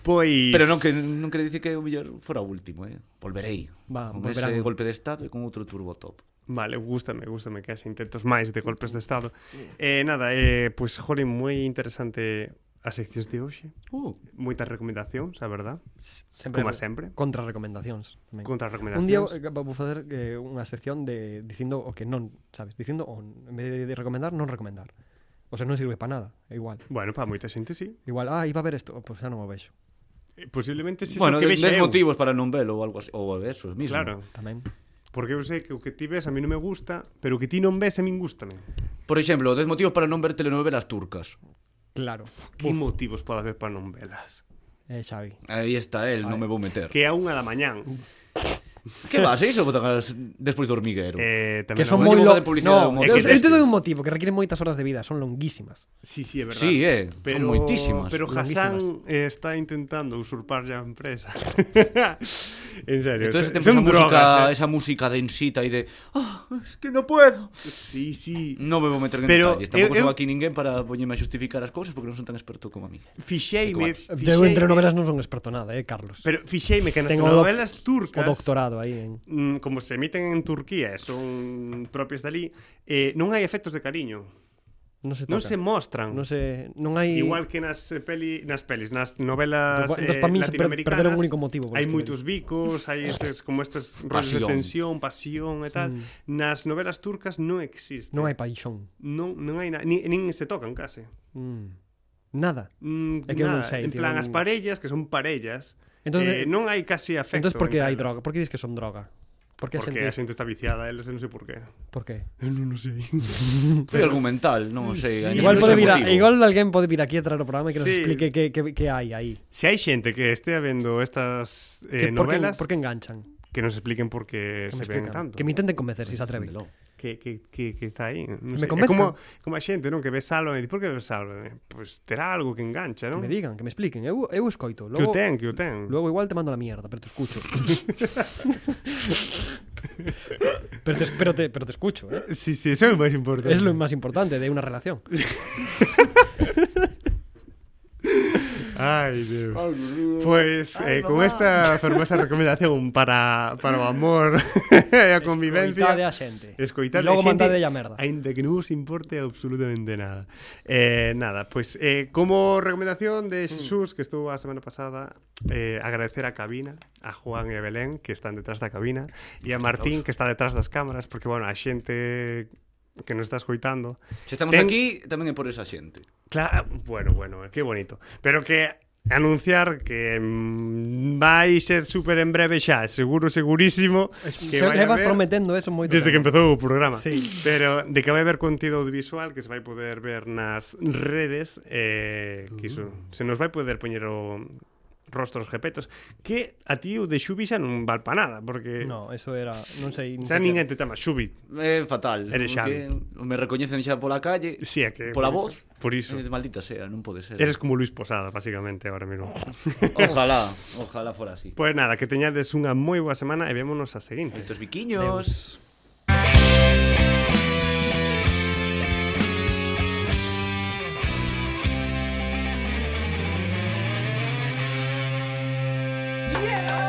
Pois
Pero non que non quere dicir que o mellor fora o último, eh. Volverei.
Va,
con
volverán.
ese golpe de estado e con outro turbo top.
Vale, gústame, gústame que haxe intentos máis de golpes de estado. Eh, nada, eh, pois, pues, jolín, moi interesante as seccións de hoxe.
Uh.
Moitas recomendacións, a verdad.
Sempre-
Como sempre.
Contra recomendacións. tamén.
Contra recomendacións.
Un día eh, vou facer eh, unha sección de dicindo o que non, sabes, dicindo o, en vez de, de recomendar, non recomendar. O sea, non sirve para nada, é igual.
Bueno, para moita xente sí.
Igual, ah, iba a ver isto, pois xa non o vexo.
Eh, Posiblemente si
bueno,
que
de-
vexe
dez
eu.
motivos para non velo ou algo así, ou eso mismo.
Claro.
Tamén.
Porque eu sei que o que ti ves a mí non me gusta, pero o que ti non ves a min gustame.
Por exemplo, 10 motivos para non ver telenovelas turcas.
Claro.
Que motivos pode haber para non velas?
Eh, Xavi.
Aí está el, non me vou meter.
Que a unha da mañán.
Que vas, iso botan as... despois do hormiguero.
Eh,
que son moi
lo...
lo...
de publicidade
no,
do
eu,
Motor.
eu te dou un motivo que requieren moitas horas de vida, son longuísimas.
Sí, sí, é verdade.
Sí, eh, son
pero,
moitísimas.
Pero Hassan eh, está intentando usurpar a empresa. en serio,
Entonces te
son
esa
drogas,
música,
eh.
esa música densita y de "Ah, es que no puedo.
Sí, sí.
Non me vou meter en
Pero eh,
detalles. Tampouco
eu-
son
eu-
aquí ninguén para poñerme a justificar as cousas porque non son tan experto como a mí.
Fixeime,
Eu entre
fixeime-
novelas non son experto nada, eh, Carlos.
Pero fixeime que nas
Tengo doc-
telenovelas turcas-
O doctorado aí en...
mm, como se emiten en Turquía e son propias dali, eh, non hai efectos de cariño.
Non se
Non
toca.
se mostran.
Non se non hai
Igual que nas eh, peli, nas pelis, nas novelas
Dos- dos
eh,
pa min se per-
latinoamericanas.
perderon o único motivo por
Hai
escribir.
moitos bicos, hai estes, como estes rollos de
Pasión.
tensión, pasión e tal. Mm. Nas novelas turcas non existe.
non hai paixón.
Non, non hai na... nin, nin se tocan case.
Mm. Nada.
Mm,
é que eu
nada.
non sei,
en
tío,
plan,
non-
as parellas, que son parellas, eh,
Entonces-
non hai casi afecto.
Entón, por que hai
entre
droga? Por que dis que son droga? Por que a
Porque
xente...
a xente está viciada, eles non sei por qué.
Por que?
Eu non o sei.
Foi argumental, non o sei.
Sí,
a
igual
nivel
pode vir, a,
emotivo.
igual alguén pode vir aquí a traer o programa e que nos
Sí. Eh,
explique que, que, que hai aí.
Se hai xente que estea vendo estas eh,
Que por que-
novelas...
por que enganchan?
Que nos expliquen por que,
Que me
se ven
explican.
tanto.
Que me intenten convencer, si se atreven.
que, que, que, que está aí. Non
Que me
sei. é
convenzan.
como, como a xente, non? Que ve Salva e di, por que ves Salva? Pois pues terá algo que engancha, non?
Que me digan, que me expliquen. Eu, eu escoito.
Que
Logo,
o ten, que o ten.
Logo igual te mando a la mierda, pero te escucho. pero, te, pero, te, pero te escucho, ¿eh?
Sí, sí, eso é o máis importante.
Es lo más importante de una relación.
Ai, Deus.
Ai, Dios.
Pois,
Ai,
eh, con
mamá.
esta fermosa recomendación para, para o amor e a convivencia...
Escoitade a xente.
Escoitade
E
a
logo
xente,
mandadelle a merda.
Ainda que non os importe absolutamente nada. Eh, nada, pois, eh, como recomendación de Xesús, que estou a semana pasada, eh, agradecer a cabina, a Juan e a Belén, que están detrás da cabina, e a Martín, que está detrás das cámaras, porque, bueno, a xente que nos está escoitando...
Se estamos aquí, tamén é por esa xente.
Claro, bueno, bueno, eh, qué bonito. Pero que anunciar que mm, vai ser super en breve xa, seguro, segurísimo que
Se
vai
levas
haber-
prometendo eso moito
Desde que
tempo.
empezou o programa.
Sí.
Pero de que vai haber contido audiovisual que se vai poder ver nas redes eh, que iso,
Mm.
se nos vai poder poñer o rostros repetos que a ti o de Xubi xa non val pa nada porque
No, eso era, non sei, nin
xa
sequera.
ninguén te tama Xubi
É fatal.
Eres
porque Me recoñecen xa pola calle.
Sí, é que
Pola
por
voz.
iso- por iso.
Eh, Maldita sea, non pode ser.
eres como Luis Posada basicamente ahora mesmo
Ojalá, ojalá fora así.
Pois pues nada, que teñades unha moi boa semana e vémonos a seguinte. Moitos
biquiños.
Yeah!